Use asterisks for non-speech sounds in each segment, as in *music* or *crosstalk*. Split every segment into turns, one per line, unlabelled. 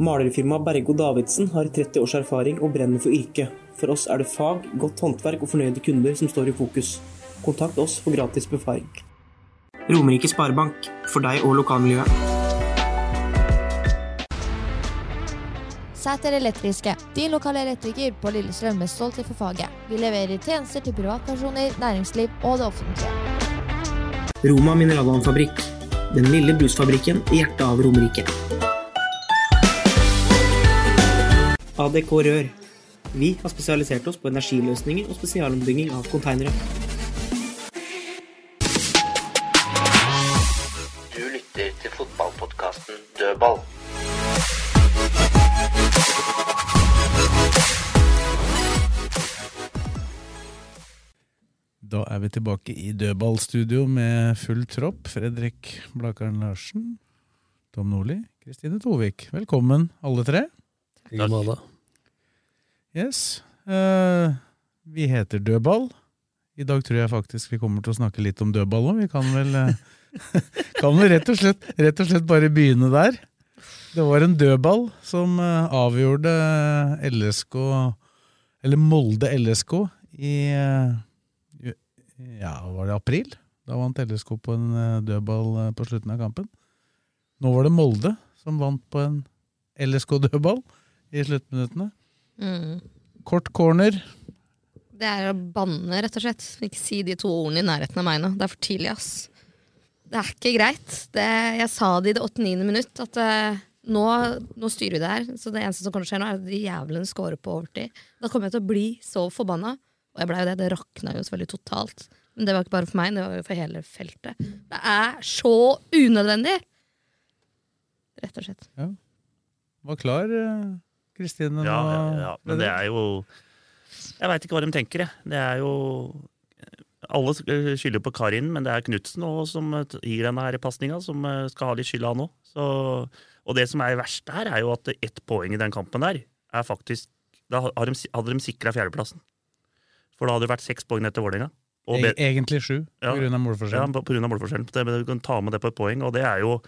Malerfirmaet Bergo Davidsen har 30 års erfaring og brenner for yrket. For oss er det fag, godt håndverk og fornøyde kunder som står i fokus. Kontakt oss for gratis befaring. Romerike Sparebank, for deg og lokalmiljøet.
Sæter Elektriske, din lokale elektriker på Lillestrøm med stolthet for faget. Vi leverer tjenester til privatpersoner, næringsliv og det offentlige.
Roma Mineralvannfabrikk. Den lille brusfabrikken i hjertet av Romerike. ADK Rør. Vi har spesialisert oss på energiløsninger og spesialombygging av konteinere.
Du lytter til fotballpodkasten Dødball.
Da er vi tilbake i dødballstudio med full tropp. Fredrik Blakaren Larsen, Tom Nordli, Kristine Tovik. Velkommen, alle tre. Yes. eh, vi heter Dødball. I dag tror jeg faktisk vi kommer til å snakke litt om dødball òg. Vi kan vel, eh, *laughs* kan vel rett, og slett, rett og slett bare begynne der. Det var en dødball som eh, avgjorde eh, LSK, eller Molde LSK, i eh, ja, var det april? Da vant LSK på en eh, dødball eh, på slutten av kampen. Nå var det Molde som vant på en LSK-dødball i sluttminuttene.
Mm.
Kort corner.
Det er å banne, rett og slett. Ikke si de to ordene i nærheten av meg nå. Det er for tidlig, ass. Det er ikke greit. Det, jeg sa det i det 89. minutt, at eh, nå, nå styrer vi det her. Så det eneste som kommer til å skje nå, er at de jævlene scorer på overtid. Da kommer jeg til å bli så forbanna. Og jeg blei jo det. Det rakna jo selvfølgelig totalt. Men det var ikke bare for meg, det var jo for hele feltet. Det er så unødvendig! Rett og slett.
Var klar, eh, Kristine.
Ja, ja,
nå,
ja, men det er jo Jeg veit ikke hva de tenker, jeg. Det er jo Alle eh, skylder på Karin, men det er Knutsen også som eh, gir denne her pasninga, som eh, skal ha litt skyld av nå. Så, og det som er verst der, er jo at ett poeng i den kampen der er faktisk Da har de, hadde de sikra fjerdeplassen. For da hadde det vært seks poeng etter Vålerenga. Og
Eg-
be-
E-, Egentlig sju,
Ja.
pga.
Ja,
målforskjellen.
på på grunn av målforskjellen. Det, men du kan ta med det på et poeng, og det er jo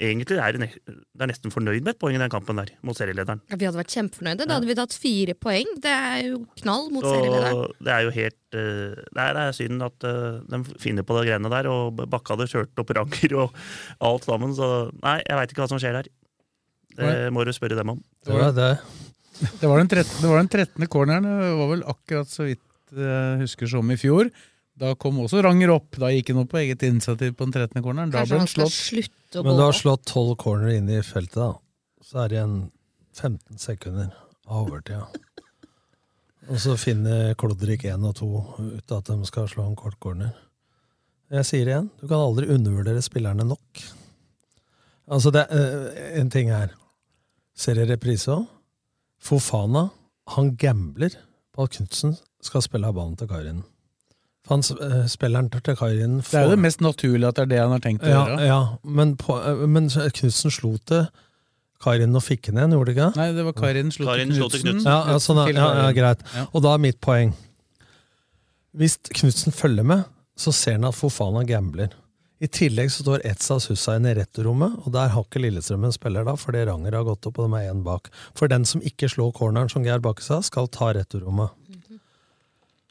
Egentlig er det, ne det er nesten fornøyd med et poeng i den kampen der, mot serielederen.
Vi hadde vært kjempefornøyde. Da hadde vi tatt fire poeng. Det er jo knall mot serielederen.
Så det er jo helt eh, Nei, det er synd at eh, de finner på de greiene der, og Bakke hadde kjørt opp ranker og alt sammen, så Nei, jeg veit ikke hva som skjer her. Det må du spørre dem om.
Det var, det var den 13. det var den 13. corneren. Det var vel akkurat så vidt jeg husker som i fjor. Da kom også Ranger opp. Da gikk han opp på eget initiativ på den 13. corneren. Da
Kanskje
ble
han
han
skal
slått.
slutte å
Men
gå
du
opp.
har slått tolv corner inn i feltet, da. Så er det igjen 15 sekunder av overtida. Og så finner Klodrik 1 og 2 ut at de skal slå en kort corner. Jeg sier igjen, du kan aldri undervurdere spillerne nok. Altså, det er eh, en ting her. Ser jeg reprise òg? Fofana, han gambler på at Knutsen skal spille av banen til Karin. For han, sp- eh, spilleren til Karin
Det er jo det mest naturlige at det er det han har tenkt å
ja,
gjøre.
ja, men, på- eh, men Knutsen slo til Karin og fikk henne igjen, gjorde det ikke?
Nei, det var Karin slo til
Karin slo til
Knutsen.
Knutsen.
Ja, ja, sånn, er-
Mm. til
ja, ja,
Karin.
greit.
Ja.
Og da er mitt poeng. Hvis Knutsen følger med, så ser han at Fofana gambler. I tillegg så står Etzas Hussein i retterrommet, og der har ikke Lillestrøm en spiller da, fordi Ranger har gått opp, og de er én bak. For den som ikke slår corneren, som Geir Bakke sa, skal ta retterrommet.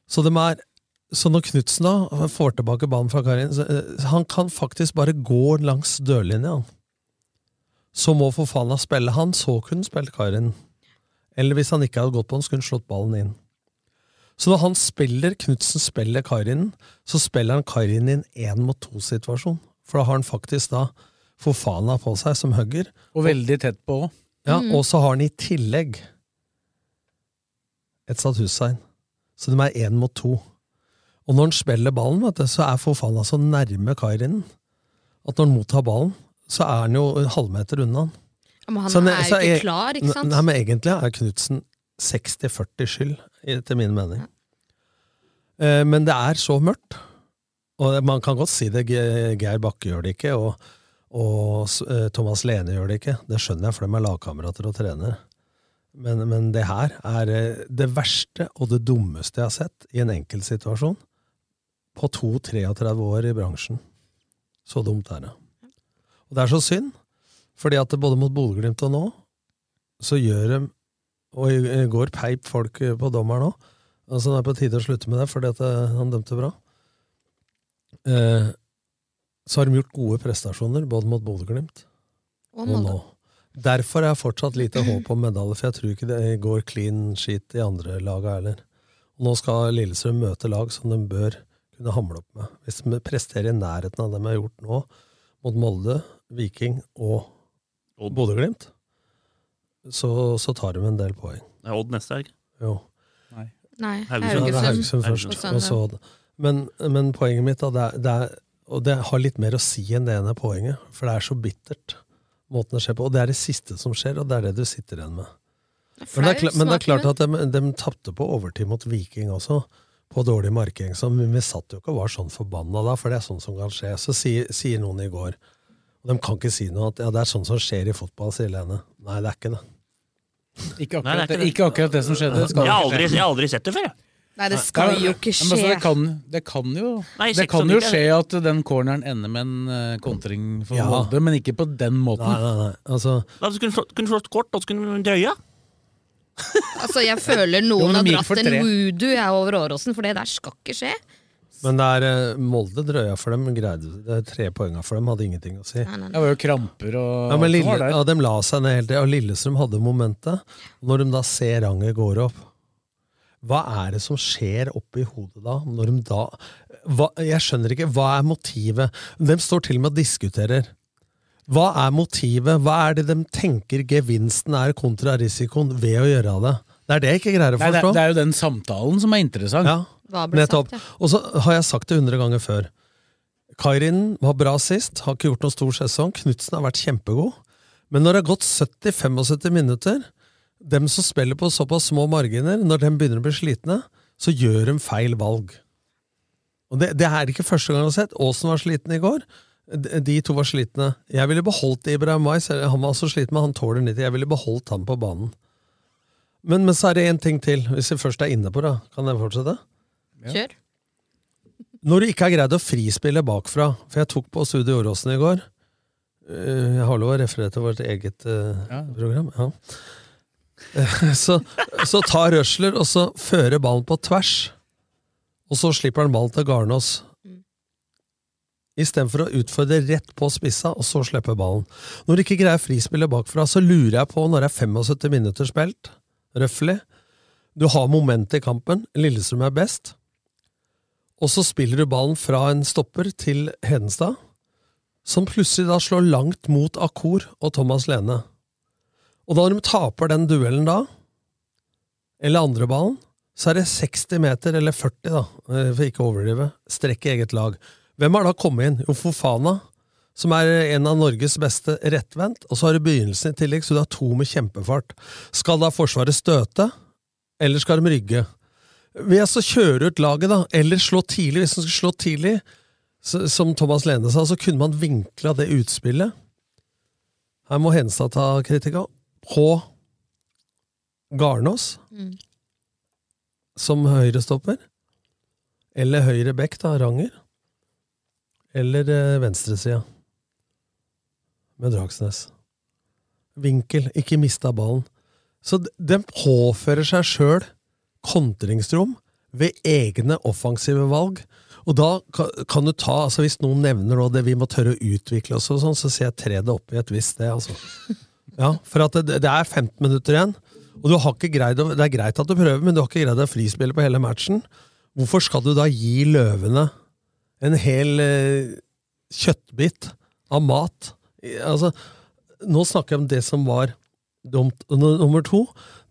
Så de er så når Knutsen da får tilbake ballen fra Karin så, eh, Han kan faktisk bare gå langs dørlinja. han. Så må Fofana spille han, så kunne spilt Karin. Eller hvis han ikke hadde gått på den, skulle han slått ballen inn. Så når han spiller, Knutsen spiller Karin, så spiller han Karin i en én mot to-situasjon. For da har han faktisk da Fofana på seg som hugger,
Og veldig tett på òg.
ja, og så har han i tillegg et satt Hussein. Så de er én mot to. Og når han spiller ballen, vet du, så er Fofana så nærme Kairinen at når han mottar ballen, så er han jo en halvmeter unna han.
Men han
Så ne-
er
så
jo ikke
jeg-
klar, ikke sant?
Nei, men egentlig er Knutsen 60-40 skyld, etter min mening. Eh, Men det er så mørkt. Og man kan godt si det, Ge- Geir Bakke gjør det ikke, og, og s- eh, Thomas Lene gjør det ikke. Det skjønner jeg, for de er lagkamerater og trener. Men, men det her er eh, det verste og det dummeste jeg har sett i en enkeltsituasjon på 2-33 år i bransjen. Så dumt er det. Og det er så synd, fordi at det både mot Bodø-Glimt og nå, så gjør de Og i i går peip folk på dommeren òg. Altså, det er på tide å slutte med det, fordi at eh, han dømte bra. Eh, så har de gjort gode prestasjoner, både mot Bodø-Glimt
Og
og nå.
Molde.
Derfor er jeg fortsatt lite håp om medalje, for jeg tror ikke det går clean shit i andre laga heller. Og nå skal Lillestrøm møte lag som de bør kunne hamle opp med. Hvis de presterer i nærheten av det de har gjort nå, mot Molde, Viking og Bodø-Glimt, så, så tar de en del poeng.
Det er Odd neste helg.
Jo.
Nei,
Ja, det er Haugesund
Haugesund.
først.
På
Og så,
søndag.
men, men poenget mitt, da, det er, det er, og det har litt mer å si enn det ene poenget, for det er så bittert, måten det skjer på. Og det er det siste som skjer, og det er det du sitter igjen med. Men det, er, kla- men det er klart at de, de tapte på overtid mot Viking også, på dårlig markering. Så vi vi satt jo ikke og var sånn forbanna da, for det er sånn som kan skje. Så sier, sier noen i går, og de kan ikke si noe, at ja, det er sånn som skjer i fotball, sier Lene. Nei, det er ikke det.
Ikke
Nei,
akkurat,
det er
det,
ikke det.
ikke akkurat det som skjedde. skal
Jeg har
ikke skje.
aldri, jeg har aldri sett det før, jeg.
Nei, det skal
Nei,
jo ikke
men altså,
skje.
det, kan, det kan jo
Nei,
Det kan jo
96.
skje at den corneren ender med en eh, kontring for
Ja.
Molde, men ikke på den måten.
Nei, nei, nei. Altså,
Da skulle hun slått- kunne hun slått kort, og så kunne hun drøya.
Altså, jeg føler
Jo, *laughs*
noen
men
har
de gikk for
dratt en
tre.
voodoo jeg, over Åråsen, for det der skal ikke skje.
Men det er eh, Molde drøya for dem. Greide, det er tre poenga for dem hadde ingenting å si.
nei,
Det var jo kramper og
Ja, men
alt som
Lille,
var der.
ja, De la seg ned hele tida, og Lillestrøm hadde momentet. Når de da ser ranget går opp, hva er det som skjer oppi hodet da? Når de da hva, jeg skjønner ikke. Hva er motivet? De står til og med og diskuterer. Hva er motivet? Hva er det de tenker gevinsten er kontra risikoen ved å gjøre det? Det er det jeg ikke greier å
Nei, det,
forstå.
det er jo den samtalen som er interessant.
Hva ble
Nettopp.
sagt, ja?
Og så har jeg sagt det hundre ganger før. Kairin var bra sist, har ikke gjort noen stor sesong. Knutsen har vært kjempegod. Men når det har gått 70-75 minutter, dem som spiller på såpass små marginer, når de begynner å bli slitne, så gjør de feil valg. Og det, det er ikke første gang jeg har sett. Aasen var sliten i går. De de to var slitne. Jeg ville beholdt Ibrahim Mai. selv- Han var så sliten, men han tåler 90. Jeg ville beholdt han på banen. Men, men så er det én ting til, hvis vi først er inne på det. Kan jeg fortsette?
Kjør.
Når du ikke har greid å frispille bakfra For jeg tok på Studio Åråsen i går Eh, Jeg har lov å referere til vårt eget eh, program ja. Eh, så, så ta røsler Og så føre ballen på tvers Og så slipper han ballen til Garnås i stedet for å utfordre rett på spissa, og så slippe ballen. Når du ikke greier frispillet bakfra, så lurer jeg på, når det er 75 minutter spilt, røffelig, du har momentet i kampen, Lillestrøm er best, og så spiller du ballen fra en stopper til Hedenstad, som plutselig da slår langt mot Akor og Thomas Lene. Og da når de taper den duellen da, eller andre ballen, så er det 60 meter, eller 40 da, eh, for ikke å overdrive, strekk i eget lag. Hvem har da kommet inn? Jo, Fofana, som er en av Norges beste rettvendt, og så har du begynnelsen i tillegg, så du har to med kjempefart. Skal da Forsvaret støte, eller skal de rygge? Ved å så kjøre ut laget, da, eller slå tidlig, hvis man skulle slå tidlig, så, som Thomas Lene sa, så kunne man vinkla det utspillet. Her må Henstad ta kritikk av. På Garnås,
Mm.
som høyrestopper, eller høyre bekk, da, Ranger, eller eh, venstresida, med Dragsnes. Vinkel, ikke mista ballen. Så d- den påfører seg sjøl kontringsrom ved egne offensive valg. Og da ka- kan du ta, altså Hvis noen nevner nå det vi må tørre å utvikle oss, og sånn, så ser jeg tre det opp i et visst sted. altså. Ja, For at det, det er 15 minutter igjen, og du har ikke greid å, det er greit at du prøver, men du har ikke greid å frispille på hele matchen. Hvorfor skal du da gi løvene en hel eh, kjøttbit av mat? I- Altså, Nå snakker jeg om det som var dumt. Og nu- Nummer to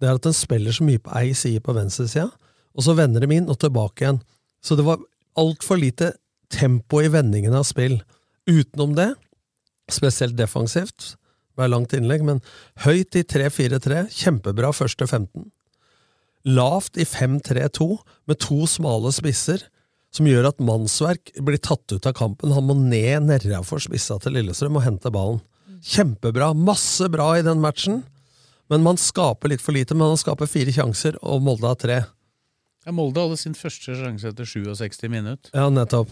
det er at den spiller så mye på ei side på venstresida, og så vender de inn og tilbake igjen. Så det var altfor lite tempo i vendingen av spill. Utenom det, spesielt defensivt, Det var langt innlegg, men høyt i 3-4-3, kjempebra første 15. Lavt i 5-3-2, med to smale spisser, som gjør at mannsverk blir tatt ut av kampen. Han må ned nedafor spissa til Lillestrøm og hente ballen. Kjempebra! Masse bra i den matchen, men man skaper litt for lite. Men han skaper fire sjanser, og Molde har tre.
Ja, Molde hadde sin første sjanse etter 67 minutter.
Ja, nettopp.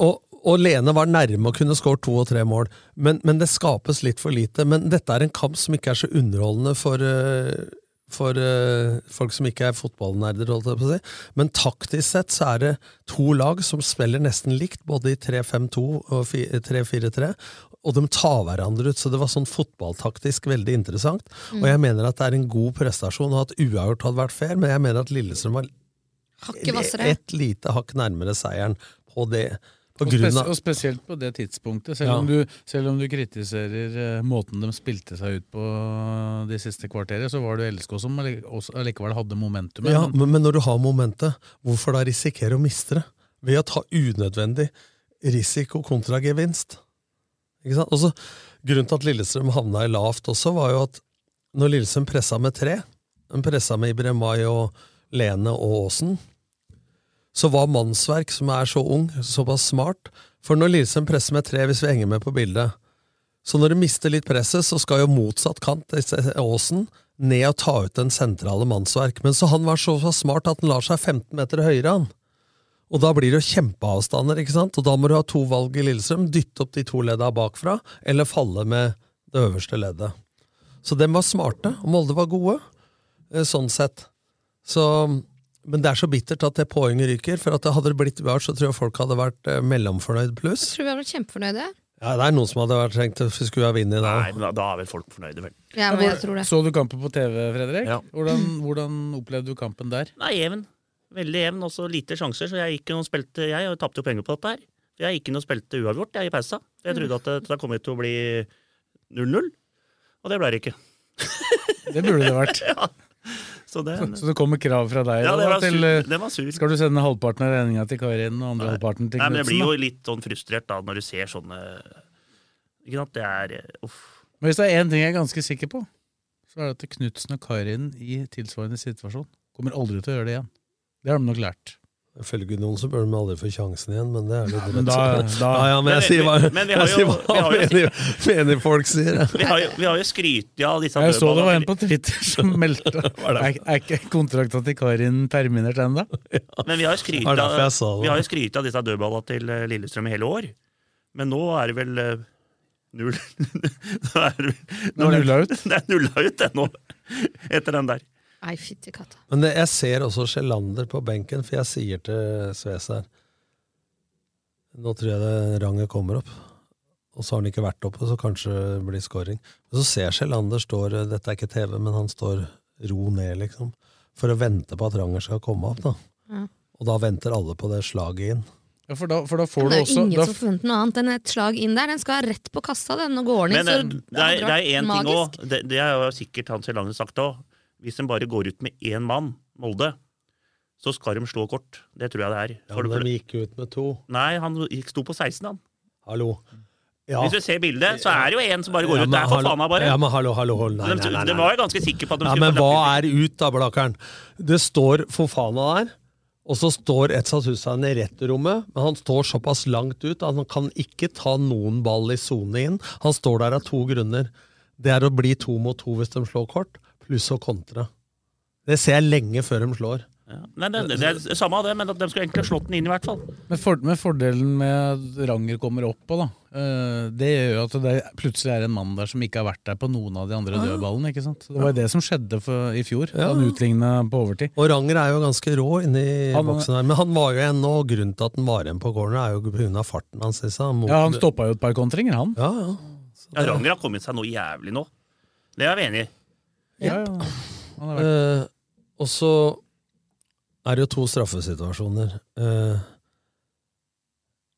Og, og Lene var nærme å kunne skåre to og tre mål, men, men det skapes litt for lite. Men dette er en kamp som ikke er så underholdende for, eh, for eh, folk som ikke er fotballnerder, holdt jeg på å si. Men taktisk sett så er det to lag som spiller nesten likt, både i 3-5-2 og fi- 3-4-3. Og de tar hverandre ut, så det var sånn fotballtaktisk veldig interessant.
Mm.
Og jeg mener at det er en god prestasjon, og at uavgjort hadde vært fair, men jeg mener at Lillestrøm var
Hakket hvassere.
et lite hakk nærmere seieren på det. På
Og,
grunn
spes
av,
og spesielt på det tidspunktet. Selv,
Ja.
om du, selv om du kritiserer eh, måten de spilte seg ut på eh, de siste kvarteret, så var det LSK som alle- også allikevel hadde momentumet.
ja,
Men-
men, men når du har momentet, hvorfor da risikere å miste det? Ved å ta unødvendig risiko kontra gevinst. Ikke sant? Også, grunnen til at Lillestrøm havna i lavt også, var jo at når Lillestrøm pressa med tre, de pressa med Ibremay og Lene og Aasen, så var mannsverk, som er så ung, såpass smart. For når Lillestrøm presser med tre, hvis vi henger med på bildet Så når de mister litt presset, så skal jo motsatt kant, Aasen, ned og ta ut den sentrale mannsverk. Men så han var så smart at han lar seg 15 meter høyere, han. Og da blir det jo kjempeavstander, ikke sant? Og da må du ha to valg i Lillestrøm. Dytte opp de to ledda bakfra, eller falle med det øverste leddet. Så dem var smarte, og Molde var gode, eh, sånn sett. Så, men det er så bittert at det poenget ryker, for at det hadde det blitt uavgjort, så tror jeg folk hadde vært eh, mellomfornøyd pluss.
Tror vi har vært kjempefornøyde.
Ja, det er noen som hadde vært trengt at vi skulle ha vunnet i
Nei,
dag.
men da, da er vel folk fornøyde, vel.
Ja, men jeg tror det.
Så du kampen på TV, Fredrik?
Ja.
Hvordan, hvordan opplevde du kampen der?
Nei, jevn. Veldig jevn, også lite sjanser. Så jeg gikk inn og spilte Jeg tapte jo penger på dette her. Jeg gikk inn og spilte uavgjort jeg i pausa. Jeg trodde at det, det kom til å bli 0-0, og det ble det ikke.
Det burde det
*laughs*
vært.
ja. Så det
Så det kommer krav fra deg?
Ja,
da,
det var
til,
sur-
eh,
det var sur.
Skal du sende halvparten av regninga til Karin og andre halvparten til
Nei, men jeg blir
Knutsen?
jo
da?
litt sånn frustrert da, når du ser sånne Ikke sant, det er eh, Uff.
Men hvis det er én ting jeg er ganske sikker på, så er det at Knutsen og Karin i tilsvarende situasjon kommer aldri til å gjøre det igjen. Det har de nok lært.
Ifølge noen så bør de aldri få sjansen igjen, men det er litt
men da-
*laughs* rett.
da-
ja, ja, men jeg
Men-
sier hva,
men- men vi har
jeg sier
jo-
hva
vi har jo-
menige, menige folk sier.
Vi har jo, vi har jo skrytt av disse
Jeg så det var
dødballene.
en på Twitter som
*laughs*
meldte Er, er ikke kontrakta til Karin terminert ennå?
Men vi har jo skrytt
Det var derfor jeg sa
av,
det.
vi har jo skrytt av disse dødballene til eh, Lillestrøm i hele år. Men nå er det vel eh, null *laughs* Nå er det vel-
Nå er det nulla ut.
*laughs* Det er nulla ut det, nå, etter den der.
Nei, fytti katta.
Men det, jeg ser også Sjelander på benken, for jeg sier til Sves her Nå tror jeg det ranget kommer opp. Og så har han ikke vært oppe, så kanskje det blir scoring. Men så ser jeg Sjelander står Dette er ikke TV, men han står ro ned, liksom. For å vente på at Ranger skal komme opp, da.
Ja.
Og da venter alle på det slaget inn.
Ja, for, da, for da får
Men
du
det er jo
også
ingen
da,
som forventer noe annet enn et slag inn der. Den skal rett på kassa, den, og går den
Men
inn,
eh,
så
det er, det er én ting
magisk.
òg, det, det er jo sikkert Hans Helander sagt òg. Hvis en bare går ut med én mann, Molde, så skal de slå kort. Det tror jeg det er.
Ja,
For
men
det-
de gikk ut med to.
Nei, han gikk- sto på 16, han.
Hallo. Ja.
Hvis du ser bildet, så er det jo en som bare går
Ja,
ut.
men
Det er for
hallo-
faen meg bare.
Ja, men hallo, hallo, hold. Nei,
De,
nei, nei,
de
nei.
var jo ganske sikre på at de
Ja,
skulle
men
få
hva
løpt
er ut da, Blakkeren? Det står Fofana der, og så står Etsat Hussein i retterrommet, men han står såpass langt ut at han kan ikke ta noen ball i sone inn. Han står der av to grunner. Det er å bli to mot to hvis de slår kort, pluss å kontre. Det ser jeg lenge før de slår.
ut. Nei, det, det er samme av det, men at de skulle egentlig ha slått den inn i hvert fall.
Men for, med fordelen med at Ranger kommer opp og da, eh, det gjør jo at det plutselig er en mann der som ikke har vært der på noen av de
Ah.
andre dødballene. ikke sant? Det var jo det som skjedde for, i fjor, da han utligna på overtid.
Og Ranger er jo ganske rå inni
Han-
boksen her, men han var jo en, og grunnen til at han var igjen på corner, er jo pga. farten hans. ikke sant? Mot-
Ja, Han stoppa jo et par kontringer, han.
Ja, ja.
Ja, Ranger har kommet seg noe jævlig nå. Det er jeg enig i.
Ja, ja. Han har vært.
Eh, og så er det jo to straffesituasjoner. Eh,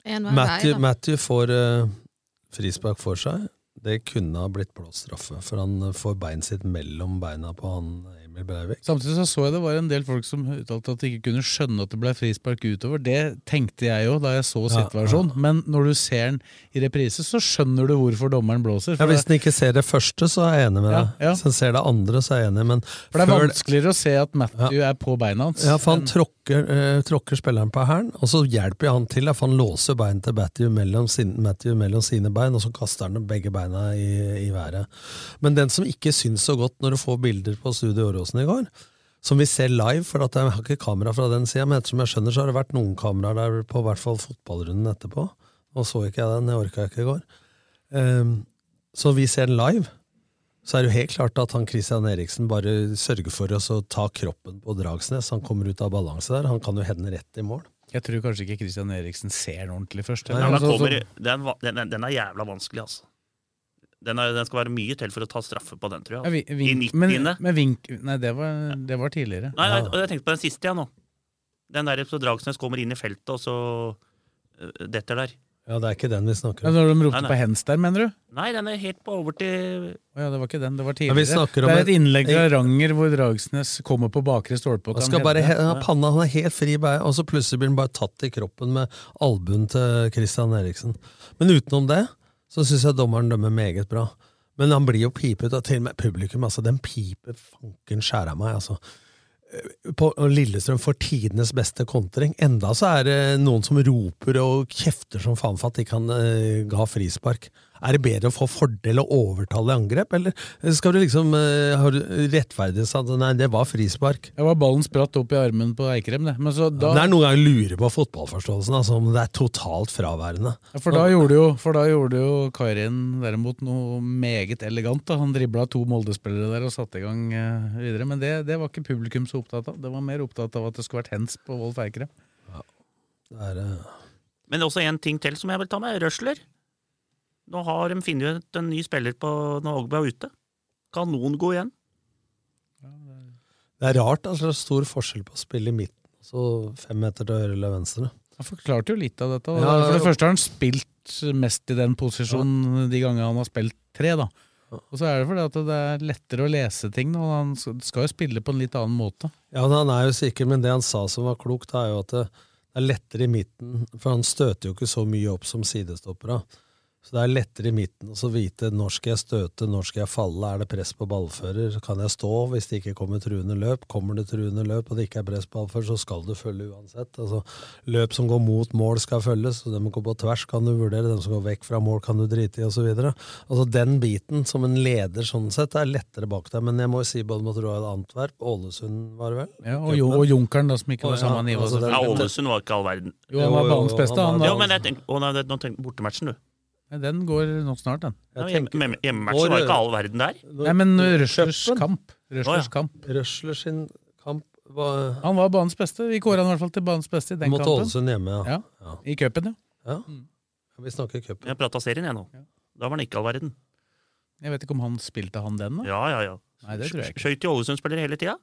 En hver vei,
Matthew,
da.
Matthew får eh, frispark for seg. Det kunne ha blitt blåst straffe, for han eh, får beinet sitt mellom beina på han Emil Emil Breivik.
Samtidig så, så jeg det var en del folk som uttalte at de ikke kunne skjønne at det ble frispark utover. Det tenkte jeg jo da jeg så
Ja,
situasjonen, men når du ser den i reprise, så skjønner du hvorfor dommeren blåser.
Ja,
For,
hvis
det,
den ikke ser det første, så er jeg enig med
Ja,
deg. Hvis den ser det andre, så er jeg enig. Men
for det er
før-
vanskeligere å se at Matthew er på beina hans.
Ja, for han
enn-
tråkker, eh, tråkker spilleren på hælen, og så hjelper jo han til. da, For han låser bein til Matthew mellom, sin, Matthew mellom sine bein, og så kaster han begge beina i, i været. Men den som ikke syns så godt når du får bilder på Studio Åråsen i går, som vi ser live, for at jeg har ikke kamera fra den sida, men ettersom jeg skjønner, så har det vært noen kameraer der på hvert fall fotballrunden etterpå. Og så ikke jeg den, jeg orka ikke i går. Ehm, så vi ser den live. Så er det jo helt klart at han Christian Eriksen bare sørger for oss å ta kroppen på Dragsnes. Han kommer ut av balanse der. Han kan jo hende rett i mål.
Jeg tror kanskje ikke Christian Eriksen ser den ordentlig først. Altså,
Ja, den, kommer, den, va- den, den er jævla vanskelig, altså. Den, er, den skal være mye til for å ta straffe på den, tror
Ja, vi,
jeg. altså. I
vink, men,
90.
men vink Nei, det var, det var tidligere.
Nei, nei, og jeg tenkte på den siste, jeg nå. Den der så Dragsnes kommer inn i feltet, og så øh, detter der.
Ja, det er ikke den vi snakker
Ja,
om.
når de ropte
Nei, nei.
på hens der, mener du?
Nei, den er helt på over til
Å ja, det var ikke den, det var
Ja, vi
tidligere.
snakker om
det er et
en-
innlegg fra Ranger hvor Dragsnes kommer på bakre stolpe og
Han
kan
skal bare
hedde.
he ha panna, han er helt fri i beina, og så plutselig blir han bare tatt i kroppen med albuen til Christian Eriksen. Men utenom det så syns jeg dommeren dømmer meget bra. Men han blir jo pipet, og til og med publikum. altså, Den piper fanken skjæra meg, altså. Eh, På og Lillestrøm får tidenes beste kontring. Enda så er det noen som roper og kjefter som faen for at de kan eh, ga frispark. Er det bedre å få fordel og overtale i angrep, eller skal du liksom eh, ha rettferdighet at nei, det var frispark?
Det var ballen spratt opp i armen på Eikrem, det. Men så da,
Det er noen ganger jeg lurer på fotballforståelsen, altså, om det er totalt fraværende.
Ja, for, da gjorde jo, for da gjorde jo Kairin derimot noe meget elegant. Da. Han dribla to Molde-spillere der og satte i gang eh, videre. Men det, det var ikke publikum så opptatt av. Det var mer opptatt av at det skulle vært hands på Wolf Eikrem.
Det er, eh,
Men også en ting til som jeg vil ta med. Røsler. Nå har de funnet ut en ny spiller på når Ågbe er ute. Kanon god igjen.
det er rart, altså, det er stor forskjell på å spille i midten, så fem meter til høyre eller venstre.
Han forklarte jo litt av dette. da.
Ja,
for det
jo.
første har han spilt mest i den posisjonen de gangene han har spilt tre. da. Og så er det fordi at det er lettere å lese ting. Da. Han skal jo spille på en litt annen måte.
Ja, men han er jo sikker, men det han sa som var klokt, er jo at det er lettere i midten, for han støter jo ikke så mye opp som sidestoppere. Så det er lettere i midten å så vite når skal jeg støte, når skal jeg falle, er det press på ballfører, kan jeg stå hvis det ikke kommer truende løp, kommer det truende løp og det ikke er press på ballfører, så skal du følge uansett. Altså, løp som går mot mål skal følges, og dem som går på tvers kan du vurdere, dem som går vekk fra mål kan du drite i osv. Altså, den biten som en leder sånn sett er lettere bak deg, men jeg må jo si både mot Royal Antwerp, Ålesund var det vel?
Ja, og, jo, og Junkeren, da, som ikke
Å,
var
ja,
samme nivå.
altså, det-
selvfølgelig.
Ja, Ålesund var ikke all verden.
Jo, han var
Jo, jo,
banens beste.
han
Han,
var-
Ja, men jeg tenker, å, nei, det- nå tenker bortematchen, du.
Den går nå snart, den.
Ja,
Jeg
hjemme-
tenker-
hjemme- Hjemmematchen var ikke all verden der.
Nei, men Røslers
Kjøppen.
kamp. Røslers
Å, ja.
kamp.
Røsler sin kamp var
Han var banens beste. Vi kåra han i hvert fall til banens beste i den
mot
kampen.
Ålesund hjemme, ja.
Ja, I cupen, ja.
ja. Vi snakker cup.
Jeg prata serien, jeg nå. Da var han ikke all verden.
Jeg vet ikke om han spilte han den, da.
Ja, ja, ja.
Nei, det tror jeg ikke.
Skøyt i Ålesund-spillere hele tida.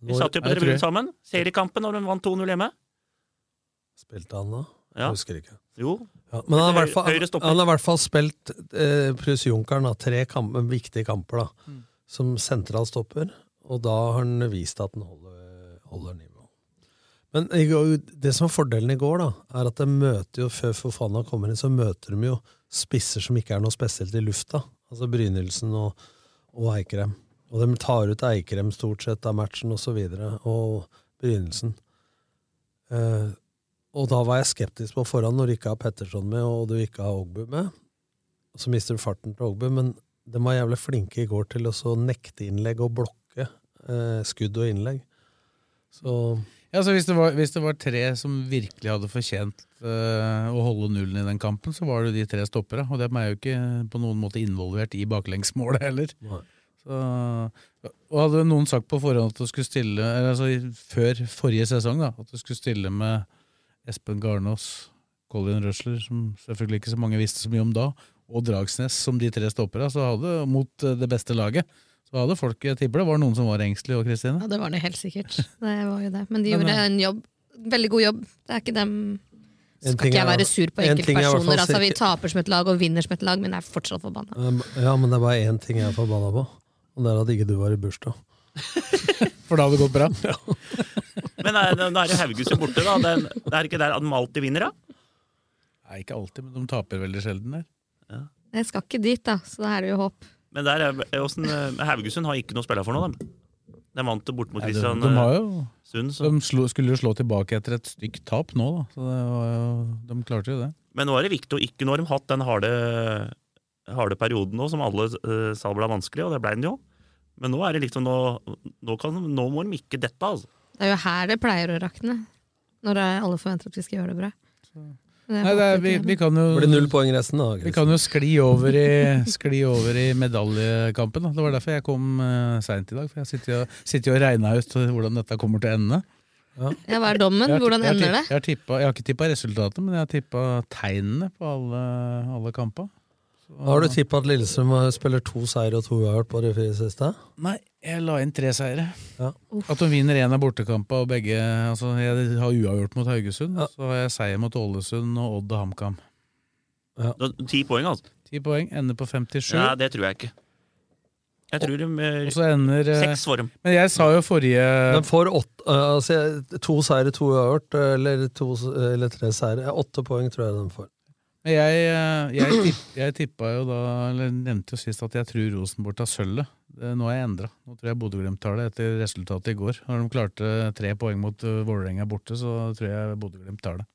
Vi
Når-
satt jo på
Nei, det tror jeg.
tribunen sammen. Seriekampen når de vant 2-0 hjemme.
Spilte han da?
Ja.
Jeg husker ikke.
Jo.
Ja, men han har i hvert fall,
Høyre stopper.
han har i hvert fall spilt eh, Prus Junkeren, da, tre kamp, viktige kamper, da,
Mm.
som sentral stopper, og da har han vist at han holder, holder nivå. Men i går- det som var fordelen i går, da, er at de møter jo, før Fofana kommer inn, så møter de jo spisser som ikke er noe spesielt i lufta. Altså Brynildsen og, og Eikrem. Og de tar ut Eikrem stort sett av matchen, og så videre, og Brynildsen. Eh, og da var jeg skeptisk på forhånd når du ikke har Petterson med, og du ikke har Ogbu med. Så mister du farten til Ogbu, men de var jævlig flinke i går til å så nekte innlegg og blokke eh, skudd og innlegg. Så
Ja, så hvis det, var, hvis det var tre som virkelig hadde fortjent eh, å holde nullen i den kampen, så var det jo de tre stoppere. Og dem er jo ikke på noen måte involvert i baklengsmålet heller.
Nei.
Så, og hadde noen sagt på forhånd at du skulle stille eller altså i- Før forrige sesong da at du skulle stille med Espen Garnås, Colin Røsler, som selvfølgelig ikke så mange visste så mye om da, og Dragsnes som de tre stoppere, så hadde mot eh, det beste laget. Så hadde folk, jeg tipper det var noen som var engstelige òg, Kristine.
Ja, det var det helt sikkert. *laughs* Det var jo det. Men de
Men,
gjorde
eh,
en jobb. Veldig god jobb. Det er ikke dem
En
Skal
ting
ikke jeg
er-
være sur på
en ting er i hvert
enkeltpersoner.
fall
Altså, vi
sikkert-
taper som et lag og vinner som et lag, men jeg er fortsatt forbanna.
Um, Ja, men det er bare én ting jeg er forbanna på, og det er at ikke du var i bursdag.
For da hadde det gått bra.
Men eh, nå nå er det Haugesund borte, da. Den, det er ikke der de alltid vinner, da?
Nei, ikke alltid, men de taper veldig sjelden der.
Jeg skal ikke dit, da, så da er det jo håp.
Men der, er- er åssen, eh, Haugesund har ikke noe å spille for nå, dem. De vant det bort mot
Nei, de,
Kristian
de, har
eh,
jo,
Sund. Så.
de slo, skulle jo slå tilbake etter et stygt tap nå, da. Så det var jo, de klarte jo det.
Men nå er det viktig å ikke Nå har de hatt den harde, harde perioden nå, som alle eh, sa ble vanskelig, og det ble den jo. Men nå er det liksom Nå, nå, kan, nå må de ikke dette, altså.
Det er jo her det pleier å rakne. Når eh, alle forventer at vi skal gjøre det bra. Men jeg
Nei, det er,
håper
vi,
ikke det.
vi kan jo
Blir det null poeng resten, da?
Vi kan jo skli over i, skli over i medaljekampen. Da. Det var derfor jeg kom uh, seint i dag. For jeg sitter og, sitter og regna ut hvordan dette kommer til å ende.
Ja, hva er dommen?
Jeg har-
Hvordan
jeg har
ender
tipp-
det?
Jeg har, tippa, jeg har ikke tippa resultatet, men jeg har tippa tegnene på alle, alle kampa.
Da Har du tippa at Lillestrøm spiller to seier og to uavgjort på de fire siste?
Nei, jeg la inn tre seire.
Ja.
At de vinner én av bortekampa og begge altså Jeg har uavgjort mot Haugesund, så har jeg seier mot Ålesund og Odd og HamKam.
Da- Ti poeng, altså.
Ti poeng, ender på 57.
Nei, det tror jeg ikke. Jeg tror de eh,
og så ender eh,
Seks for dem.
Men jeg sa jo forrige
De får åtte, eh, altså, to seire, to uavgjort, eh, eller, to, eller tre seire. Eh, Åtte poeng tror jeg de får.
Men Jeg, eh, jeg, tipp, jeg tippa jo da, eller nevnte jo sist at jeg tror Rosenborg tar sølvet. Det- Nå har jeg endra. Nå tror jeg Bodø-Glimt tar det etter resultatet i går. Når de klarte tre poeng mot eh, Vålerenga borte, så tror jeg Bodø-Glimt tar det.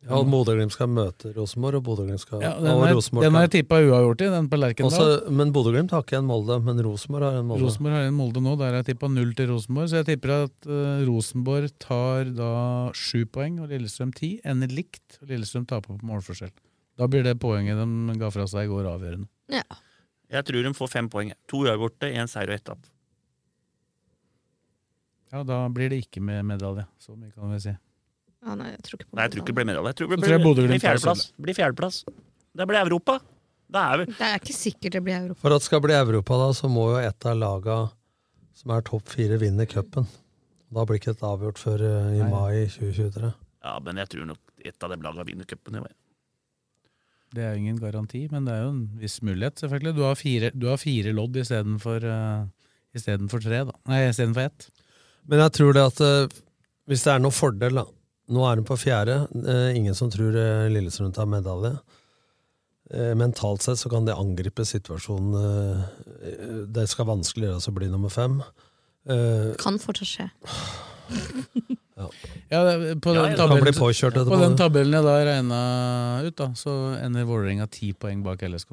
Ja, og Bodø-Glimt skal møte Rosenborg, og Bodø-Glimt skal
Mm. Ja, den,
og
har, jeg-
Rosenborg
den har jeg
kan-
tippa uavgjort i, den på Lerkendal.
Også- Men Bodø-Glimt har ikke en Molde, men Rosenborg har en Molde.
Rosenborg har en Molde nå, der har jeg tippa null til Rosenborg. Så jeg tipper at eh, Rosenborg tar da sju poeng og Lillestrøm ti. Ender likt, og Lillestrøm taper på målforskjell. Da blir det poenget de ga fra seg i går, avgjørende.
Jeg tror de får fem poeng. To uavgjorte, én seier og ett tap.
Ja, Da blir det ikke med medalje. Så mye kan vi si.
Ja, nei, jeg tror ikke på
Nei, jeg tror ikke det blir medalje. Jeg tror det
Så
blir,
tror jeg Bodø
blir
Glimt tar
fjerdeplass. Blir fjerdeplass. Det blir Europa. Det er vel
Det er ikke sikkert det blir Europa.
For at det skal bli Europa, da, så må jo et av laga som er topp fire, vinne cupen. Da blir ikke dette avgjort før eh, i
Nei.
mai 2023.
Ja, men jeg tror nok et av de lagene vinner cupen. jeg vet.
Det er jo ingen garanti, men det er jo en viss mulighet, selvfølgelig. Du har fire, du har fire lodd istedenfor uh, istedenfor tre, da. Nei, istedenfor ett.
Men jeg tror det at eh, hvis det er noen fordel, da Nå er hun på fjerde. eh, ingen som tror eh, Lillestrøm tar medalje. Eh, mentalt sett så kan det angripe situasjonen. eh, eh, det skal vanskeligere å bli nummer fem. Eh,
Kan fortsatt skje.
Ja, det- på
Ja,
den
ja, det
kan bli
tabellen,
påkjørt
på den
etterpå.
tabellen jeg da regna ut, da, så ender Vålerenga ti poeng bak LSK.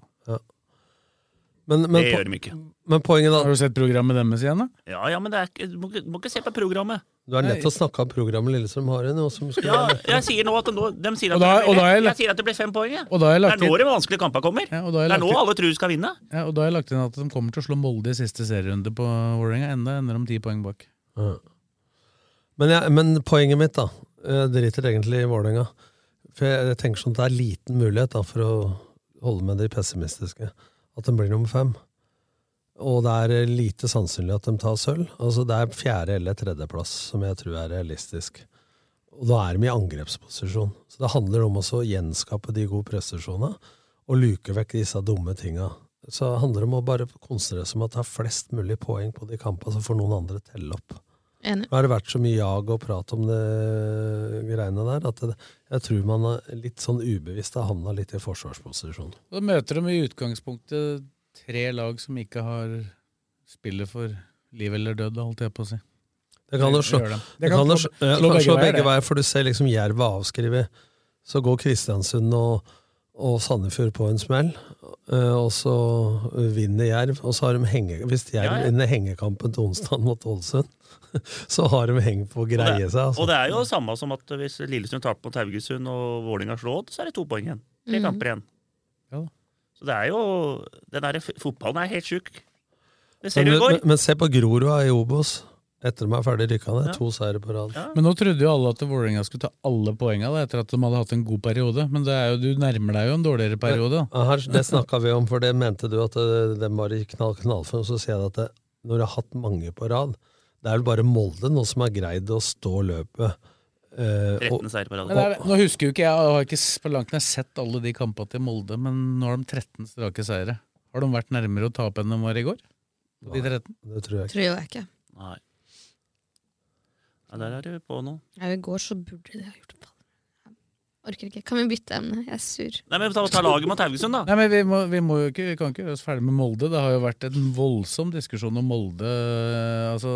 Men,
Det
men,
gjør
po-
de ikke.
men poenget da
Har du sett programmet deres igjen, da?
Ja, ja, men det er, ikke- du må, ikke- du må ikke se på programmet.
Du er nødt til å snakke om programmet Lillestrøm har igjen. noe som skulle
Ja,
være-
jeg sier nå at nå- de sier at
Og da-
det blir-
og da har jeg
jeg,
lagt-
sier at det blir fem poeng. jeg.
Og da har jeg
Det er
lagt
nå
inn,
de vanskelige kampene kommer.
ja, og da har
Det er
jeg lagt
nå
inn,
alle tror du skal vinne.
ja, og da har jeg lagt inn at de kommer til å slå Molde i siste serierunde på Vålerenga. Enda ender de ti poeng bak.
Ja. Men, jeg, men poenget mitt, da. Jeg driter egentlig i Vålerenga. For jeg, jeg tenker sånn at det er liten mulighet da, for å holde med de pessimistiske. At de blir nummer fem. Og det er eh, lite sannsynlig at de tar sølv. Altså, det er fjerde- eller tredjeplass som jeg tror er realistisk. Og da er de i angrepsposisjon. Så det handler om også å gjenskape de gode prestasjonene og luke vekk disse dumme tinga. Så det handler det om å bare konsentrere seg om å ta flest mulig poeng på de kampene, så får noen andre telle opp.
Enig.
Nå har det vært så mye jag og prat om det greiene der, at det, jeg tror man er litt sånn ubevisst har havna litt i forsvarsposisjon.
Og da møter de i utgangspunktet tre lag som ikke har spillet for liv eller død, holdt jeg på å si.
Det kan jo slå,
gjør de.
det kan jo slå, ja,
slå
kan slå
begge veier,
begge
det.
veier, for du ser liksom Jerv er avskrevet. Så går Kristiansund og, og Sandefjord på en smell, eh, og så vinner Jerv. Og så har de henge, hvis Jerv
Ja, ja.
vinner hengekampen til onsdag mot Ålesund, *laughs* så har de heng på å greie seg. Altså.
Og det er jo samme som at hvis Lillestrøm taper mot Haugesund og Vålinga slår Odd, så er det to poeng igjen. Tre
Mhm.
kamper igjen.
Ja da.
Så det er jo Den der f- fotballen er helt sjuk. Det ser
men,
du i går.
men, men se på Grorud er i Obos. Etter at de er ferdig rykka ned,
Ja.
to seire på rad.
Men nå trodde jo alle at Vålerenga skulle ta alle poengene da, etter at de hadde hatt en god periode, men det er jo, du nærmer deg jo en dårligere periode. da.
Ja, Her, det snakka vi om, for det mente du at eh, det, det var i knall, knallform. Så sier jeg at det, når du har hatt mange på rad Det er vel bare Molde nå som har greid å stå løpet. Eh, og,
13 seier på rad.
Men det er, nå husker jo ikke jeg, jeg har ikke s- på langt nær sett alle de kampene til Molde, men nå har de 13 strake seire. Har de vært nærmere å tape enn de var i går? På de 13?
Det tror jeg
Tror jeg ikke.
Nei. Ja, der er du på nå.
Ja, I går så burde de ha gjort det. Jeg Orker ikke. Kan vi bytte emne? Jeg er sur.
Nei, men ta, ta laget mot Haugesund, da.
Nei, men vi, må, vi, må jo ikke, vi kan ikke gjøre oss ferdig med Molde. Det har jo vært en voldsom diskusjon om Molde. Altså,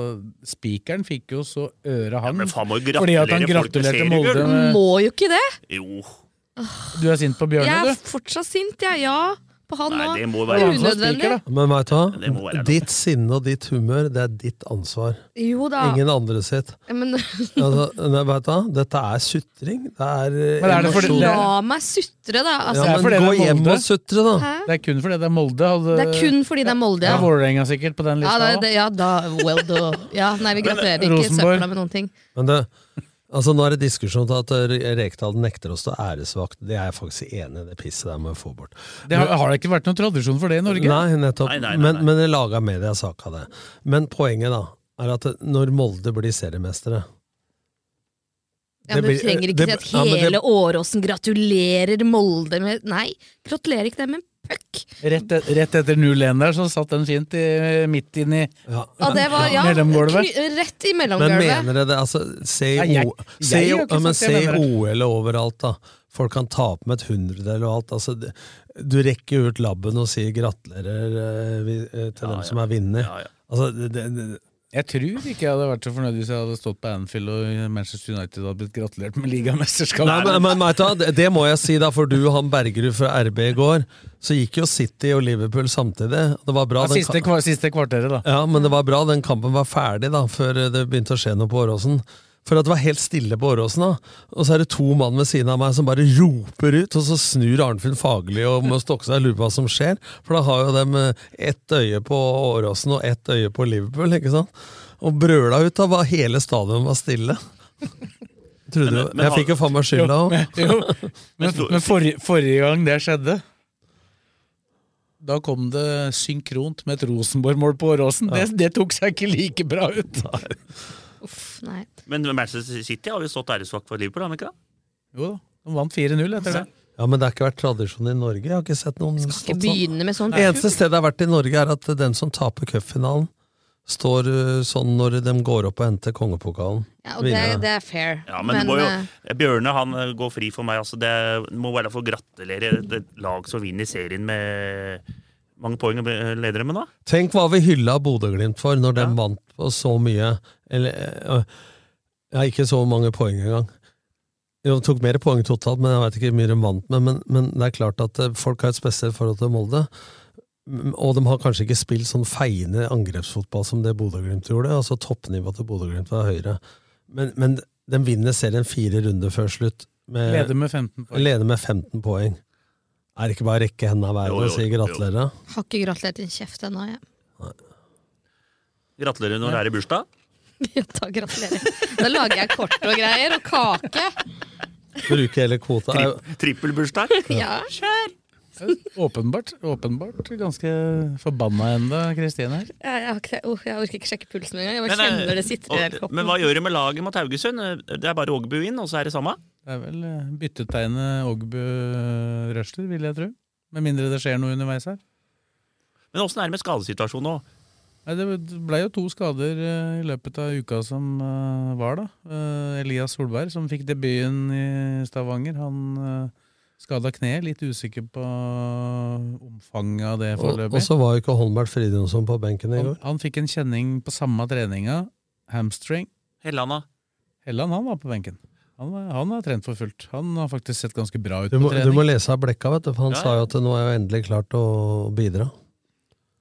Spikeren fikk jo så øre han
men faen må jo
fordi at han
gratulere folk med
gratulerte
seriegull.
Molde med
Må jo ikke det!
Jo.
Du er sint på
Jeg
Bjørne,
er
du?
fortsatt sint, jeg. Ja, på han
Nei,
nå.
det må
være-
Unødvendig.
Men veit du
Det må
hva?
være
Ditt sinne og ditt humør, det er ditt ansvar.
Jo da.
Ingen andre sitt.
Men,
*laughs* Altså, nei, vet du hva? Dette er sutring. Det er eh,
Men er det fordi-
emosjon.
det-
la meg sutre, da. Altså,
ja,
Det er fordi
men gå
det er
hjem
Molde.
og sutre, da.
Hæ?
Det er kun fordi det er Molde. Hadde,
Det er kun fordi det er Molde,
Det
ja.
er Vålerenga sikkert på den
Ja,
lista
da,
òg.
det, ja, da well do. Ja, nei, vi gratulerer
Men,
ikke
Rosenborg.
søpla med noen ting.
Men det, altså nå er det diskusjon til at Re- Rekdal nekter oss til æresvakt. Det er jeg faktisk enig i, det pisset der må vi få bort.
Det har, har det ikke vært noen tradisjon for det i Norge?
Nei, nettopp.
Nei, nei, nei, nei.
Men, men det laga media sak av det. Men poenget da, er at når Molde blir seriemestere
Ja, men
*laughs* Det
Du
blir-
trenger ikke
det-
si at
ja, men det-
hele Åråsen gratulerer Molde med Nei, gratulerer ikke dem med en puck!
Rett, et- rett etter 0-1 der, så satt den fint i, midt inn i
ja,
Ja, det var, ja,
Mellomgulvet.
kny- Rett i
Men
mellomgulvet.
mener dere det? Altså, se i
Nei, jeg-
O-
jeg
se i
har
O-
ikke
ja, men
sagt
se
det,
i
jeg
OL overalt, da. Folk kan tape med et hundredel og alt. Altså, det- du rekker jo ut labben og sier gratulerer eh, vi- eh, til dem som er vinner.
Ja, ja.
Altså, det, det, det,
Jeg tror ikke jeg hadde vært så fornøyd hvis jeg hadde stått på Anfield og Manchester United hadde blitt gratulert med
Nei, men,
ligamesterskapet.
men vet du, hva, det- Det må jeg si, da, for du han Bergerud fra RB i går, så gikk jo City og Liverpool samtidig. og Det var bra,
Ja,
den,
siste,
ka-
kva- siste kvarteret, da.
ja, men det var bra den kampen var ferdig da, før det begynte å skje noe på Åråsen. For at det var helt stille på Åråsen, da. og så er det to mann ved siden av meg som bare roper ut, og så snur Arnfinn Fagerli og må stokke seg og lure på hva som skjer. For da har jo dem eh, ett øye på Åråsen og ett øye på Liverpool, ikke sant. Og brøla ut av hva hele stadion var stille. Trodde jo,
Men- men
jeg
har-
fikk jo faen meg skylda òg.
Jo, men
sto-
men forri- forrige gang det skjedde da kom det synkront med et Rosenborg-mål på Åråsen. Det, det tok seg ikke like bra ut.
Uff, nei.
Men Manchester City har jo stått æresvakt for Liverpool, har de ikke det?
Jo da, de vant 4-0 etter det.
Ja, men det har ikke vært tradisjon i Norge. Jeg har ikke sett noen
Skal ikke
stått sånn.
begynne med sånn
Det eneste stedet det har vært i Norge, er at den som taper cupfinalen, står uh, sånn når de går opp og henter kongepokalen.
Ja, og det,
Vinner.
det er fair.
Ja, men, det må jo,
eh,
Bjørne han eh, går fri for meg. Altså, det må være for å gratulere et et lag som vinner serien med mange poeng og ble- leder dem med, da.
Tenk hva vi hylla Bodø-Glimt for når de
Ja.
vant på så mye Eller eh, ja, ikke så mange poeng engang. Jo, de tok mer poeng totalt, men jeg veit ikke hvor mye de vant med. Men, men det er klart at eh, folk har et spesielt forhold til Molde. Mm, Og de har kanskje ikke spilt sånn feiende angrepsfotball som det Bodø-Glimt gjorde. altså Toppnivået til Bodø-Glimt var høyere. Men, men de vinner serien fire runder før slutt. Med,
Leder med 15 poeng.
leder med 15 poeng. Er det ikke bare å rekke hendene i
Jo,
været og
jo,
si
jo.
gratulerer?
Har ikke gratulert din kjeft ennå, jeg.
Gratulerer når det er i *laughs* bursdag.
*laughs* Ja, Da gratulerer jeg. Da lager jeg kort og greier, og kake.
Bruke hele kvota. Er-
Tri Trippelbursdag.
*laughs* Ja.
Åpenbart, åpenbart ganske forbanna enda, Kristine. her.
Ja, Jeg, har ikke, det. Åh, jeg orker ikke sjekke pulsen engang. Jeg bare
Men, eh,
kjenner det sitter i hele
Og,
kroppen.
men hva gjør de med laget mot Haugesund? Eh, Det er bare Ågebu inn, og så er det samme?
Det er vel eh, byttetegnet Ågbø Røsler, vil jeg tro. Med mindre det skjer noe underveis her.
Men åssen er det med skadesituasjonen nå?
Nei, det ble jo to skader eh, i løpet av uka som eh, var, da. Eh, Elias Solberg, som fikk debuten i Stavanger, han uh, skada kneet. Litt usikker på omfanget av det
Og,
foreløpig.
og så var jo ikke Holmberg Fridjonsson på benken i
Han,
går.
han fikk en kjenning på samme treninga, hamstring.
Hellanda?
Helland, han var på benken. Han, var- han har trent for fullt. Han har faktisk sett ganske bra ut
Du
på
må, du
trening.
må lese av Blekka, vet du, for han
Ja, ja.
sa jo at nå er jeg endelig klar til å bidra.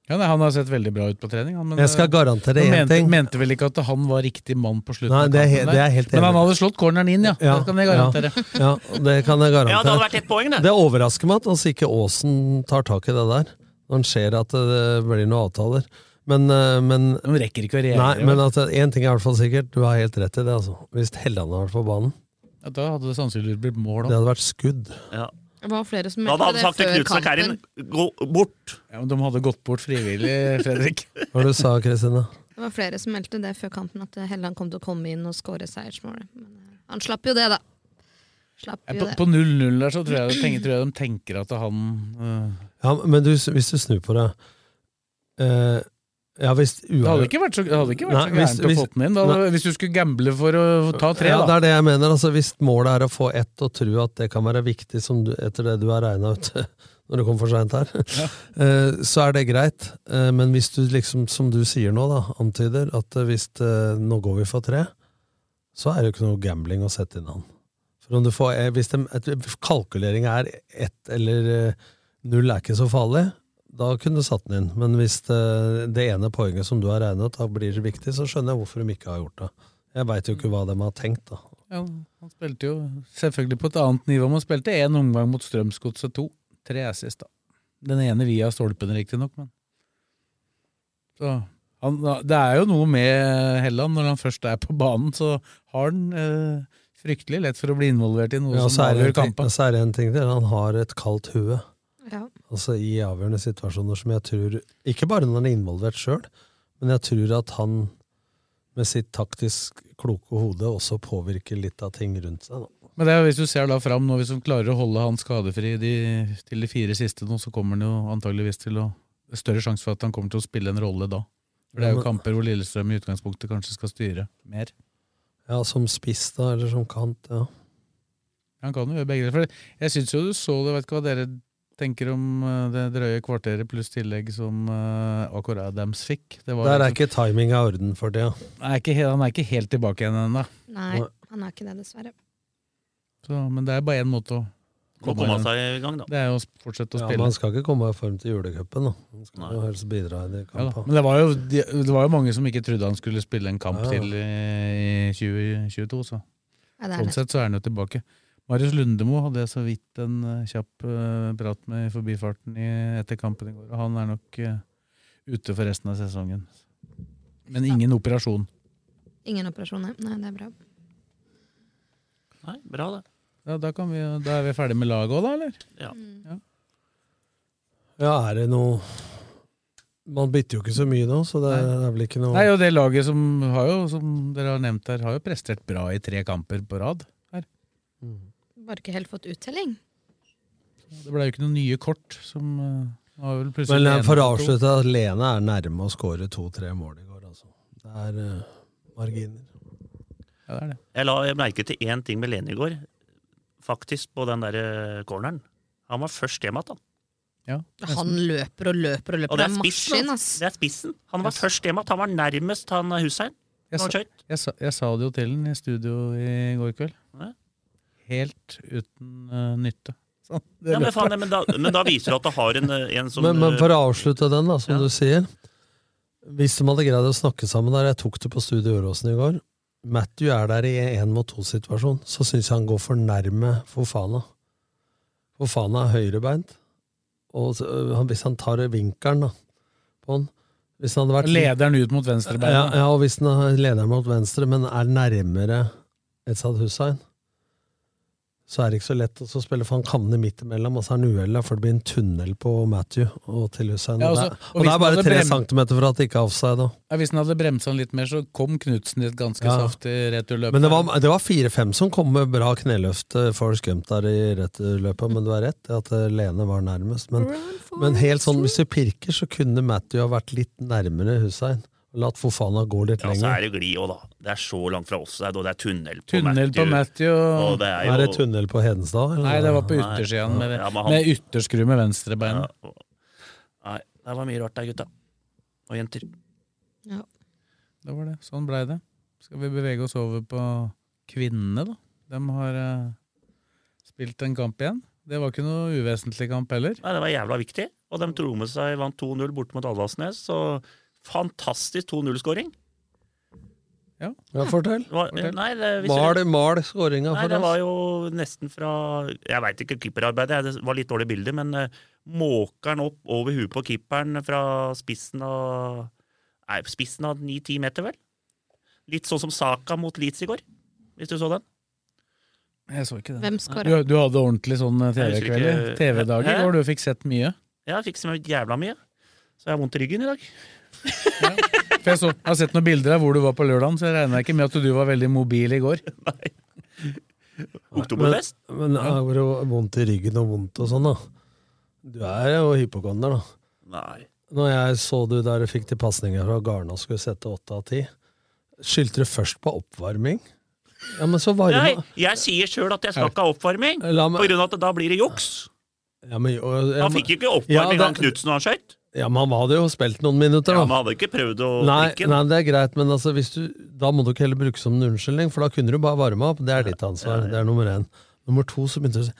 Ja, nei, han har sett veldig bra ut på trening. Han, men,
Jeg skal
eh,
garantere
han
én
mente,
ting.
mente vel ikke at han var riktig mann på slutten
Nei,
av
det er, he-
kampen
det
der.
er helt
Men han
enig.
hadde slått corneren inn, ja.
Ja,
Det kan jeg garantere.
Ja, det kan jeg
Ja, det hadde
garantere.
vært ett poeng, det.
Det overrasker meg at altså ikke Aasen tar tak i det der, når han ser at det blir noen avtaler. Men, eh, men,
De rekker ikke å
nei,
reagere.
men at én ting er i hvert fall sikkert, du har helt rett i det. altså. Hvis Helland hadde vært på banen,
Ja, Da hadde det sannsynligvis blitt mål
det
òg.
hadde vært skudd.
Ja.
Det var flere som
Da hadde
meldte
han
det
sagt til
før
Knutsen og Karin
kampen.
gå bort.
Ja, men de hadde gått bort frivillig, Fredrik.
Hva var det du sa Kristine?
Det var flere som meldte det før kampen, at Helland kom til å komme inn og skåre seiersmålet. Men eh, han slapp jo det, da. Slapp
Eh,
Ja,
jo
På
det.
på 0-0 der så tror jeg, tenker, tror jeg de tenker at han øh,
Ja, men du, hvis du snur på det eh, Ja, hvis,
Det hadde ikke vært så, det hadde ikke vært så
Nei, hvis-
gærent å
hvis-
få den inn. Da, hadde-
nei.
hvis du skulle gamble for å ta tre,
Ja, det
da.
er det jeg mener. Altså, hvis målet er å få ett og tro at det kan være viktig som du, etter det du har regna ut *laughs* når du kom for seint her, *laughs* eh, så er det greit. Eh, Men hvis du liksom, som du sier nå, da, antyder at eh, hvis eh, nå går vi for tre, så er det jo ikke noe gambling å sette inn han. For om du får, eh, hvis det, et, kalkulering er ett eller eh, null er ikke så farlig, da kunne du satt den inn. Men hvis det, det ene poenget som du har regnet da blir viktig, så skjønner jeg hvorfor de ikke har gjort det. Jeg veit jo ikke hva de har tenkt, da.
Ja, han spilte jo selvfølgelig på et annet nivå. Man spilte én omgang mot Strømsgodset 2. Tre assis, da. Den ene via stolpen, riktignok, men så, han, Det er jo noe med Helland. Når han først er på banen, så har han eh, fryktelig lett for å bli involvert i noe
Ja, så
som
er, det
avgjør
en ting,
kampen.
så er det en ting til. Han har et kaldt hue.
Ja.
Altså i avgjørende situasjoner som jeg tror Ikke bare når han er involvert sjøl, men jeg tror at han med sitt taktisk kloke hode også påvirker litt av ting rundt seg. Da.
Men det er, jo hvis du ser da fram nå, hvis de klarer å holde han skadefri de, til de fire siste nå, så kommer han jo antageligvis til å det er Større sjanse for at han kommer til å spille en rolle da. For Det er
Ja,
jo
men-
kamper hvor Lillestrøm i utgangspunktet kanskje skal styre mer.
Ja, som spiss, da, eller som kant. Ja.
Han kan jo gjøre begge deler. For jeg syns jo du så det, vet ikke hva dere tenker om eh, det drøye kvarteret pluss tillegg som eh, Akor Adams fikk. Det var
Der er
liksom-
ikke timinga i orden for tida.
Nei, ikke he- han er ikke helt tilbake igjen ennå.
Nei, han er ikke det, dessverre.
Så- Men det er bare én måte å
Må komme seg i gang, da.
Det er jo å fortsette å
Ja,
spille.
man skal ikke komme i form til julecupen, da. Man skal jo helst bidra i de
Ja, da.
kampene.
Men det var, jo, de- det var jo mange som ikke trodde han skulle spille en kamp
Ja, ja.
til i i 2022, så
Ja, det er
sånn
det.
sett så er han jo tilbake. Marius Lundemo hadde jeg så vidt en eh, kjapp eh, prat med i forbifarten i, etter kampen i går, og han er nok eh, ute for resten av sesongen. Men ingen operasjon.
Ingen operasjoner. Nei, det er bra.
Nei, bra det.
Ja, da, kan vi, jo- da er vi ferdig med laget òg, da, eller?
Ja.
Ja, er det noe Man bytter jo ikke så mye nå, så det er, det er vel ikke noe
Nei, og det laget som, har jo, som dere har nevnt her, har jo prestert bra i tre kamper på rad. Her.
Bare ikke helt fått uttelling.
Det ble jo ikke noen nye kort som eh, har vel plutselig
Men eh,
en
for å
eller to.
avslutte, at Lene er nærme å skåre to-tre mål i går, altså. Det er eh, marginer.
Ja, det er det.
Jeg la jeg merke til én ting med Lene i går. Faktisk på den der eh, corneren. Han var først hjem igjen, han.
Han løper og løper og løper.
Og det er
en
spissen.
maskin,
altså.
ass.
Det er spissen. Han var først hjem igjen. Han var nærmest han Hussein.
Jeg
Når han
sa,
skjøt.
jeg, sa, jeg sa det jo til den i studio i går kveld.
Ja.
Helt uten eh, nytte. Sånn, det
Ja, men,
løpet.
faen, men, da, men da viser det at du har en, eh, en som
men, men
eh,
for å avslutte den, da, som du sier Hvis de hadde greid å snakke sammen der Jeg tok det på studiet i Åråsen i går. Matthew er der i en mot to-situasjon. Så syns jeg han går for nærme Fofana. Fofana er høyrebeint. Og så, øh, han- hvis han tar vinkelen da, på han hvis han hadde vært litt-
Leder den ut mot venstrebeinet.
Ja, ja, og hvis den er leder mot venstre, men er nærmere Etzad Hussein, så er det ikke så lett å så spille, for han kavner midt imellom, og så er han uheldig, for det blir en tunnel på Matthew og til Hussein.
Ja,
og,
og så-
det, er-
og
og det
hvis
er bare
den hadde
tre
brem-
centimeter fra at det ikke er offside. da.
Ja, hvis den hadde bremsa den litt mer, så kom Knutsen i et ganske
Ja.
saftig returløp.
Men det var, det var fire-fem som kom med bra kneløft eh, for skumt der i returløpet, men du har rett i at eh, Lene var nærmest. Men, men helt sånn, hvis du pirker, så kunne Matthew ha vært litt nærmere Hussein. og Latt Fofana gå litt
altså,
Ja, så
lenger.
er det glid òg, da. Det er så langt fra offside, og det er tunnel på
Tunnel på Matthew.
Og det er jo
Er det tunnel på Hedenstad? eller?
Nei, det var på
Nei.
yttersida. Med,
Ja, men han-
med ytterskru med venstrebeinet.
Nei, det var mye rart der, gutta. Og jenter.
Ja.
Det var det. Sånn blei det. Skal vi bevege oss over på kvinnene, da? De har eh, spilt en kamp igjen. Det var ikke noe uvesentlig kamp heller.
Nei, det var jævla viktig. Og de dro med seg, vant 2-0 borte mot Alvasnes. Så fantastisk 2-0-skåring.
Ja.
Ja, fortell.
Fortell.
Nei, det, hvis
Mal,
jeg-
mal skåringa
Nei,
for
det
oss.
var jo nesten fra Jeg veit ikke keeperarbeidet, det var litt dårlig bilde, men eh, måker den opp over huet på keeperen fra spissen av Nei, spissen av 9-10 meter, vel? Litt sånn som Saka mot Leeds i går, hvis du så den?
Jeg så ikke den.
Hvem
Du,
skåra?
du hadde ordentlig sånn eh,
Jeg husker
TV-kveld?
ikke-
TV-dag i
Hæ?
går, du fikk sett mye?
Ja, jeg fikk så jævla mye. Så jeg har vondt i ryggen i dag. *laughs*
For jeg, så, jeg har sett noen bilder av hvor du var på lørdagen, så jeg regner ikke med at du var veldig mobil i går.
Oktoberfest.
Men, eh, men er det jo vondt i ryggen og vondt og sånn, da? Du er jo hypokonder, da.
Nei.
Når jeg så du der du fikk de pasningene fra Garna og skulle sette åtte av ti, skyldte du først på oppvarming? Ja, men så
Nei,
varme
jeg sier sjøl at jeg skal ikke ha oppvarming,
La meg-
på grunn av at da blir det juks.
ja, men, og, ja,
Han
men-
fikk jo ikke
Ja, det-
oppvarming, han Knutsen og han skøyt.
Ja, men han hadde jo spilt noen minutter, da.
Han hadde ikke prøvd å
Nei,
drikke den.
nei, det er greit, men altså, hvis du, da må du ikke heller bruke som en unnskyldning, for da kunne du bare varme opp. Det er ditt ansvar. Det er nummer én. Nummer to, så begynte du å si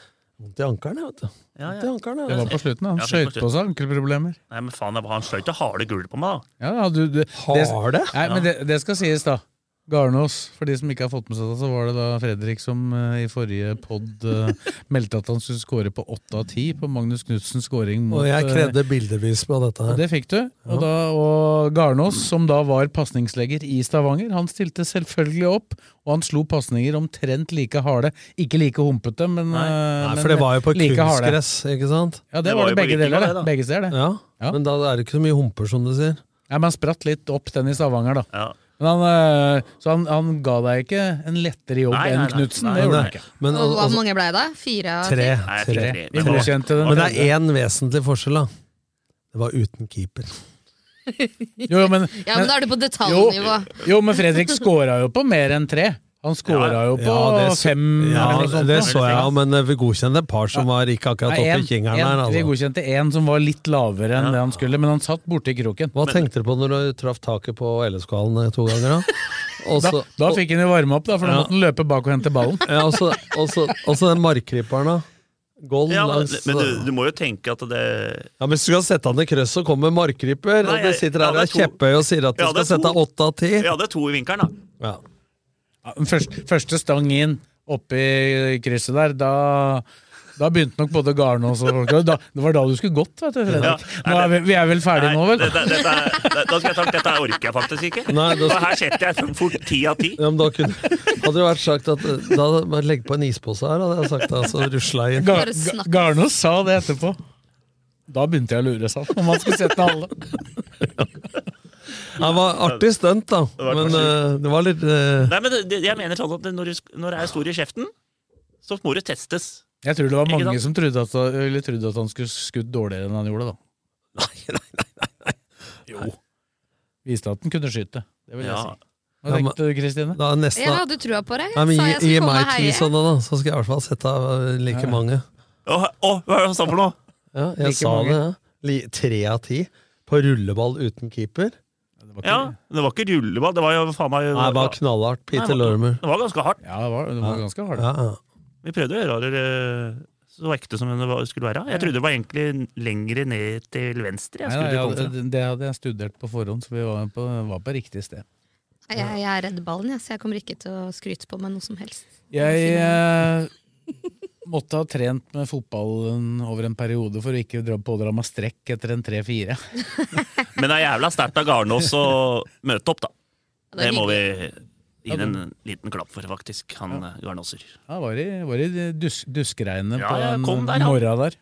Vondt i ankelen, vet du.
Ja, ja.
Vondt i ankelen.
Det var på slutten. Han
Ja, det var
skøyt
på
på seg ankelproblemer.
Nei, men faen, han skjøt det harde gullet på meg, da.
Ja, ja, du, du,
Har det?
Nei, men det, det skal sies, da. Garnås, for de som ikke har fått med seg det, så var det da Fredrik som eh, i forrige pod eh, meldte at han skulle score på åtte av ti på Magnus Knudsens scoring mot
Og jeg
eh,
krevde bildevis på dette
og
her.
Det fikk du. Og, da, og Garnås, som da var pasningsleger i Stavanger, han stilte selvfølgelig opp, og han slo pasninger omtrent like harde. Ikke like humpete, men, eh,
Nei,
men
for det var jo på
like harde.
kunstgress, ikke sant?
Ja, det, var det
jo på
begge
Vikinga,
deler.
det, da.
Det, begge steder, det.
Ja,
Ja.
men da er det ikke så mye humper, som du sier.
Ja, men han spratt litt opp, den i Stavanger, da.
Ja.
Men han, eh, så han, han ga deg ikke en lettere jobb
Nei, nei,
enn
nei.
Knutsen.
Nei,
Det gjorde
nei.
han ikke.
Men,
Og Hvor
altså,
mange ble det? Fire? av
tre,
ti?
Nei,
tre.
fire,
Vi
men hva-
godkjente den.
Men det er én vesentlig forskjell, da. Det var uten keeper.
Jo, jo, men,
Ja, men da er du på
jo,
detaljnivå.
jo, men Fredrik scora jo på mer enn tre. Han scora
Ja,
jo på
så-
fem.
ja,
eller noe sånt.
det så jeg, jo, men eh, vi godkjente et par som var ikke akkurat
Nei,
oppe
en-
i kingeren
en-
der.
Vi
Altså.
godkjente én som var litt lavere enn
Ja.
det han skulle, men han satt borti kroken.
Hva tenkte du på når du traff taket på LSK-hallen to ganger, da? Og
*laughs* Da,
så-
da fikk han jo varme opp, da, for da
Ja.
måtte han løpe bak og hente
*laughs*
ballen.
ja, og så- og så- og så den markkryperen, da. Gold
Ja, men,
langs
men du, du må jo tenke at det
Ja, men Hvis du skal sette han i krøss, så kommer markkryper.
Nei,
og du sitter her
ja,
og er
det er to.
kjepphøy og sier at du
Ja,
skal
det er
sette
to.
åtte av ti.
Ja, det er to i vinkelen, da.
Ja.
Ja, den Første, første stang inn oppi krysset der, da da begynte nok både Garnås og folk da, Det var da du skulle gått, vet du,
Ja.
Fredrik. Nå er vi, vi er vel ferdige nå, vel?
Dette, dette, er- da skal jeg tenke, dette orker jeg faktisk ikke.
Nei, da-
Og her setter jeg fort ti av ti.
ja, men da kunne, Hadde det vært sagt at eh, Da hadde man legge på en ispose her, hadde jeg sagt det. Altså, rusla inn.
Ga,
Bare
Ga-
snakk.
Garnås sa det etterpå. Da begynte jeg å lure seg om han skulle sette alle.
Det var artig stunt, da.
var
Men eh, det var litt eh,
Nei, men det, det- jeg mener sånn at det- når, du, sk- når det er stor i kjeften, så må du testes.
Jeg tror det var
Ikke
mange
sant?
som trodde at, eller trodde at han skulle skutt dårligere enn han gjorde, da.
Nei, nei, nei.
Viste at han kunne skyte. Det vil jeg
Ja.
si. Hva tenkte du, Kristine?
Da er nesten
Jeg hadde trua på deg.
Nei, men
Sa
gi,
jeg
gi
skulle komme
meg
og
ti
heie.
sånne, da, så skal jeg i hvert fall sette av eh, like mange.
Å, å, hva er det han sa for noe?
Ja, jeg
Like
sa
mange.
det, ja. Li, tre av ti på rulleball uten keeper.
Det var ikke-
Ja, det var ikke rulleball, det var jo faen meg
Nei, det var
det
knallhardt. Peter
Nei, det var-
Lormer.
var ganske hardt.
ja, det var, det var ganske hardt.
Ja, ja.
Vi prøvde å gjøre det så ekte som det var- skulle være. Jeg trodde det var egentlig lengre ned til venstre. Jeg
Nei, nei,
skulle
jeg
komme fra.
hadde, det hadde jeg studert på forhånd, så vi var på, var på riktig sted.
Nei, Jeg, jeg er redd ballen, jeg, så jeg kommer ikke til å skryte på meg noe som helst.
Jeg eh, måtte ha trent med fotballen over en periode for å ikke dra- pådra meg strekk etter en 3-4.
Men det er jævla sterkt av Garnås å møte opp, da.
Ja,
Det
er
må
hyggelig.
vi gi den en liten klapp for, faktisk, han eh, Garnåser.
Ja, var i, var i dus, duskregnet
Ja,
på
jeg
en
kom der, ja.
morgen der.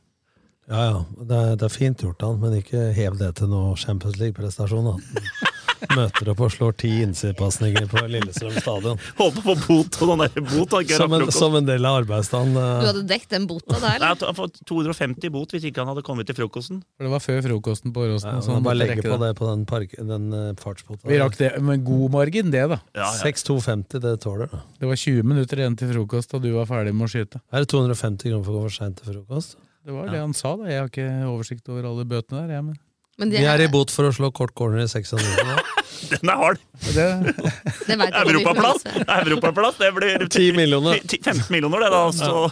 ja, ja. Det, er, det er fint gjort, han, men ikke hev det til noe Champions League-prestasjon. da. *laughs* Møter opp og slår ti innsidepasninger på Lillestrøm stadion.
Håper på bot og den derre bot. han ikke
Som en,
rakk frokost.
som en del av arbeidsdagen.
Du
eh.
hadde dekket den bota der,
Nei,
eller?
han har fått 250 bot hvis ikke han hadde kommet til frokosten.
For det var før frokosten på Åråsen.
Ja,
så han
bare
måtte
legge
rekke
på
det.
det på den, park- den eh, fartsbota.
Vi rakk det med god margin, det, da.
Ja, ja.
6250, det tåler du.
Det var 20 minutter igjen til frokost, og du var ferdig med å skyte.
Er det 250 kroner for å gå for seint til frokost?
Det var det han sa, da. Jeg har ikke oversikt over alle bøtene der. Jeg, men
Men
Vi
det,
er i bot for å slå kort corner i
*laughs*
600.
*laughs* Den er hard!
det,
det vet jeg ikke om vi får
Europaplass!
med oss.
Europaplass, det blir
10 millioner.
Ti- 15 millioner, det, da. Så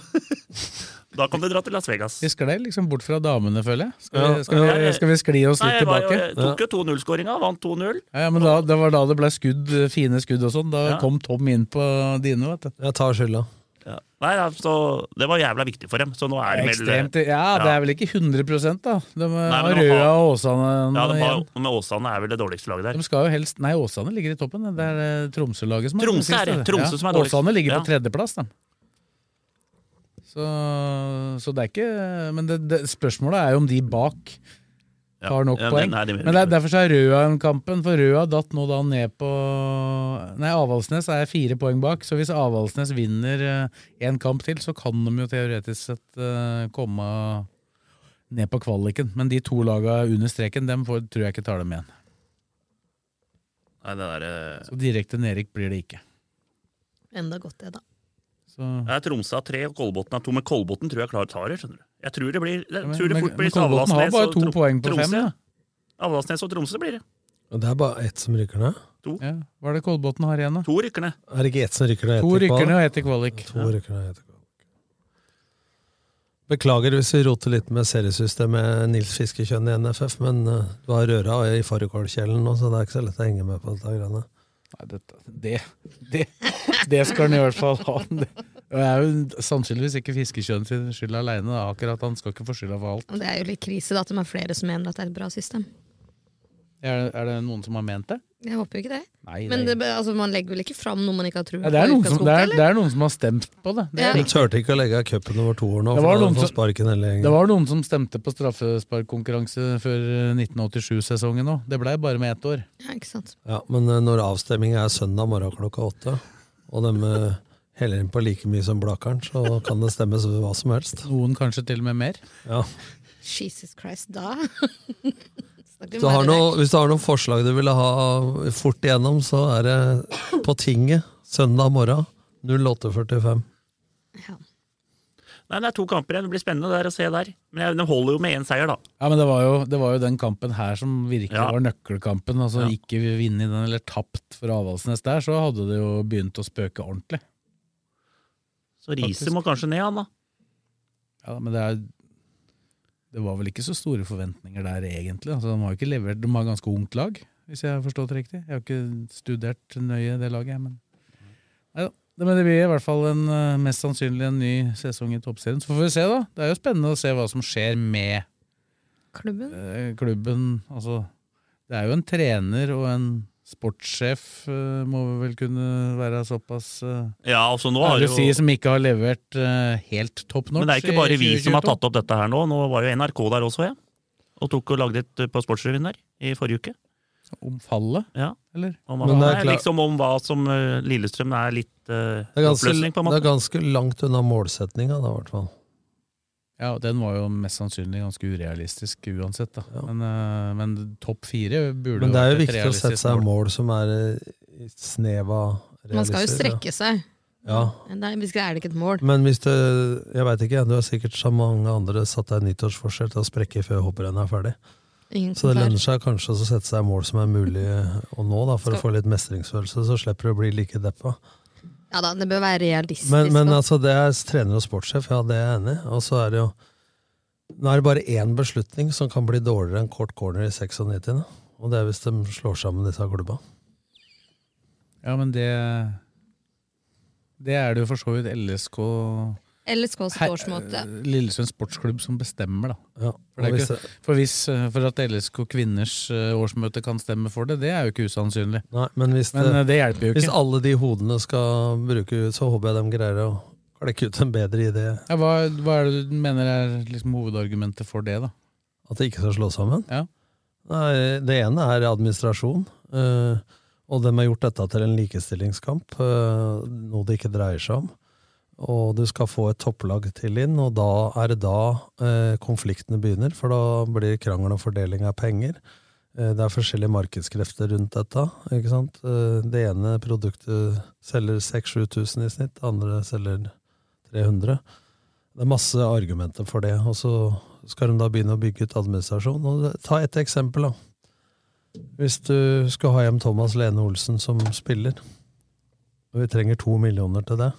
*laughs* da kan du dra til Las Vegas.
vi sklei liksom bort fra damene, føler jeg. Skal
Ja,
vi, skal vi,
ja.
skal vi skli oss
Nei,
litt
jeg, var,
tilbake?
jeg tok jo 2-0-skåringa, vant 2-0.
Ja, ja, men da, Det var da det ble skudd, fine skudd og sånn. Da
Ja.
kom Tom inn på dine. vet du
Jeg tar skylda.
Ja. Nei, ja, så Det var jævla viktig for dem. Så nå er det vel
Ekstremt, ja, Det er vel ikke 100 da. De har
men de
Røa
har-
og Åsane
ja, det var,
igjen.
Med Åsane er vel det dårligste laget der.
De skal jo helst Nei, Åsane ligger i toppen. Det er eh, Tromsø-laget som
Tromsø
dårligst,
er det.
vet du.
Tromsø som er dårligst.
Åsane ligger
Ja.
på tredjeplass, da. Så, så det er ikke Men det, det, spørsmålet er jo om de bak
Ja.
tar nok
Ja,
poeng.
nei, det mener
Men det
jeg
er derfor så er Røa en kampen, for Røa datt nå da ned på Nei, Avaldsnes er fire poeng bak, så hvis Avaldsnes vinner én kamp til, så kan de jo teoretisk sett eh, komme ned på kvaliken. Men de to laga under streken, dem får, tror jeg ikke tar dem igjen.
Nei, det der, eh,
Så direkte nedrykk blir det ikke.
Enda godt det, da.
det er Tromsø har tre, og Kolbotn har to. Men Kolbotn tror jeg klarer tarer. skjønner du. Jeg tror det blir jeg
men-
tror det
men-
fort blir
men Kolbotn har
Avaldsnes
bare
og
to
Trom-
poeng på
Tromsø.
fem, da.
Avaldsnes og Tromsø blir det.
Og det er bare ett som rykker ned?
To.
Ja. Hva er det Kolbotn har igjen, da?
To rykker ned.
Er det ikke ett som rykker ned?
To
etter
rykker
kvalik?
ned og ett i kvalik.
To rykker ned etter kvalik. Beklager hvis vi roter litt med seriesystemet Nils Fiskekjønn i NFF, men eh, du har røra i fårikålkjelen nå, så det er ikke så lett å henge med på dette greiene.
Nei, dette, det, det, det skal han i hvert fall ha. Det og jeg er jo sannsynligvis ikke fiskekjønn sin skyld aleine. Akkurat han skal ikke få skylda for alt.
Og det er jo litt krise da, at de er flere som mener at det er et bra system.
Er, er det noen som har ment det?
Jeg håper jo ikke det.
Nei, det er
Men
ikke-
det, altså, man legger vel ikke fram noe man ikke har trua
Ja, det,
på
er
i
noen som, det, er,
utgangspunktet,
det er noen som har stemt på det. Det,
Ja.
Du turte ikke å legge av cupen over to år nå,
Det
for
var
da hadde
noen
du fått
som-
sparken hele
det
gjengen.
var noen som stemte på straffesparkkonkurranse før 1987-sesongen òg. Det blei bare med ett år.
eller? Ja, ikke sant.
Ja, men eh, når avstemminga er søndag morgen klokka åtte, og de eh, heller inn på like mye som Blakkaren, så kan det stemmes hva som helst.
Noen kanskje til og med mer.
Ja.
Jesus Christ, da
Hvis du, har noe, hvis du har noen forslag du ville ha fort igjennom, så er det på tinget søndag morgen 08.45.
Nei, det er to kamper igjen. Det blir spennende der å se der. Men jeg, de holder jo med én seier, da.
Ja, men det var, jo, det var jo den kampen her som virkelig
Ja.
var nøkkelkampen. Altså
Ja.
Ikke vinne i den eller tapt for Avaldsnes der, så hadde det jo begynt å spøke ordentlig.
Så Riise
Faktisk.
må kanskje ned, han da.
Ja, men det, er, det var vel ikke så store forventninger der, egentlig. Altså, de har jo ikke levert, de har ganske ungt lag, hvis jeg har forstått det riktig. Jeg har ikke studert nøye det laget, jeg, men Neida. Det- Men det blir i hvert fall en, eh, mest sannsynlig en ny sesong i toppserien. Så får vi se, da. Det er jo spennende å se hva som skjer med
Klubben?
eh, klubben. Altså, det er jo en trener og en sportssjef, eh, må vi vel kunne være såpass eh,
Ja, altså nå har
ærlig
jo-
å si, som ikke har levert eh, helt top notch.
Men det er ikke bare vi som har tatt opp dette her nå. Nå var jo NRK der også, jeg. Og tok og lagde et eh, på Sportsrevyen der i forrige uke.
Om fallet,
Ja.
eller?
Om,
Men det er
Nei,
klart-
liksom om hva som eh, Lillestrøm er litt uh,
Det er
oppløsning,
ganske, det
på en måte.
er ganske langt unna målsetninga, da, i hvert fall.
Ja, den var jo mest sannsynlig ganske urealistisk uansett, da. Men, eh, men topp fire burde
Men det er jo
vært et
viktig å sette
realistisk
seg
mål.
mål som er eh, i snev av realiser.
Man skal jo strekke seg.
Ja.
Men det er- hvis ikke er det ikke et mål.
Men hvis du Jeg veit ikke, du har sikkert som mange andre satt deg en nyttårsforskjell til å sprekke før hopprennet er ferdig.
Ingen
Så det
kommentar.
lønner seg kanskje å sette seg mål som er mulig å nå, da, for å få litt mestringsfølelse. Så slipper du å bli like deppa.
Ja da, det bør være realistisk.
Men, men
da.
altså, det er trener og sportssjef, ja, det er jeg enig i. Og så er det jo Nå er det bare én beslutning som kan bli dårligere enn kort corner i 96. Og det er hvis de slår sammen disse klubba.
Ja, men det Det er det jo for så vidt LSK
LSKs
Her- eh,
årsmøte.
Lillesund sportsklubb som bestemmer, da.
Ja,
For, det
og
er
hvis
ikke, for, hvis, eh, for at LSK kvinners eh, årsmøte kan stemme for det, det er jo ikke usannsynlig.
Nei, men hvis,
Men, eh, det hjelper jo ikke.
Hvis alle de hodene skal bruke ut, så håper jeg de greier å klekke ut en bedre idé.
Ja, hva, hva er det du mener er liksom hovedargumentet for det, da?
At det ikke skal slås sammen?
Ja.
Nei, det ene er administrasjon. eh, Og de har gjort dette til en likestillingskamp, eh, noe det ikke dreier seg om. Og du skal få et topplag til inn, og da er det da eh, konfliktene begynner. For da blir det krangel om fordeling av penger. Eh, Det er forskjellige markedskrefter rundt dette. ikke sant? Eh, Det ene produktet selger 6000-7000 i snitt, det andre selger 300. Det er masse argumenter for det. Og så skal de da begynne å bygge ut administrasjon. Og det- ta et eksempel, da. Hvis du skal ha hjem Thomas Lene Olsen som spiller, og vi trenger to millioner til det,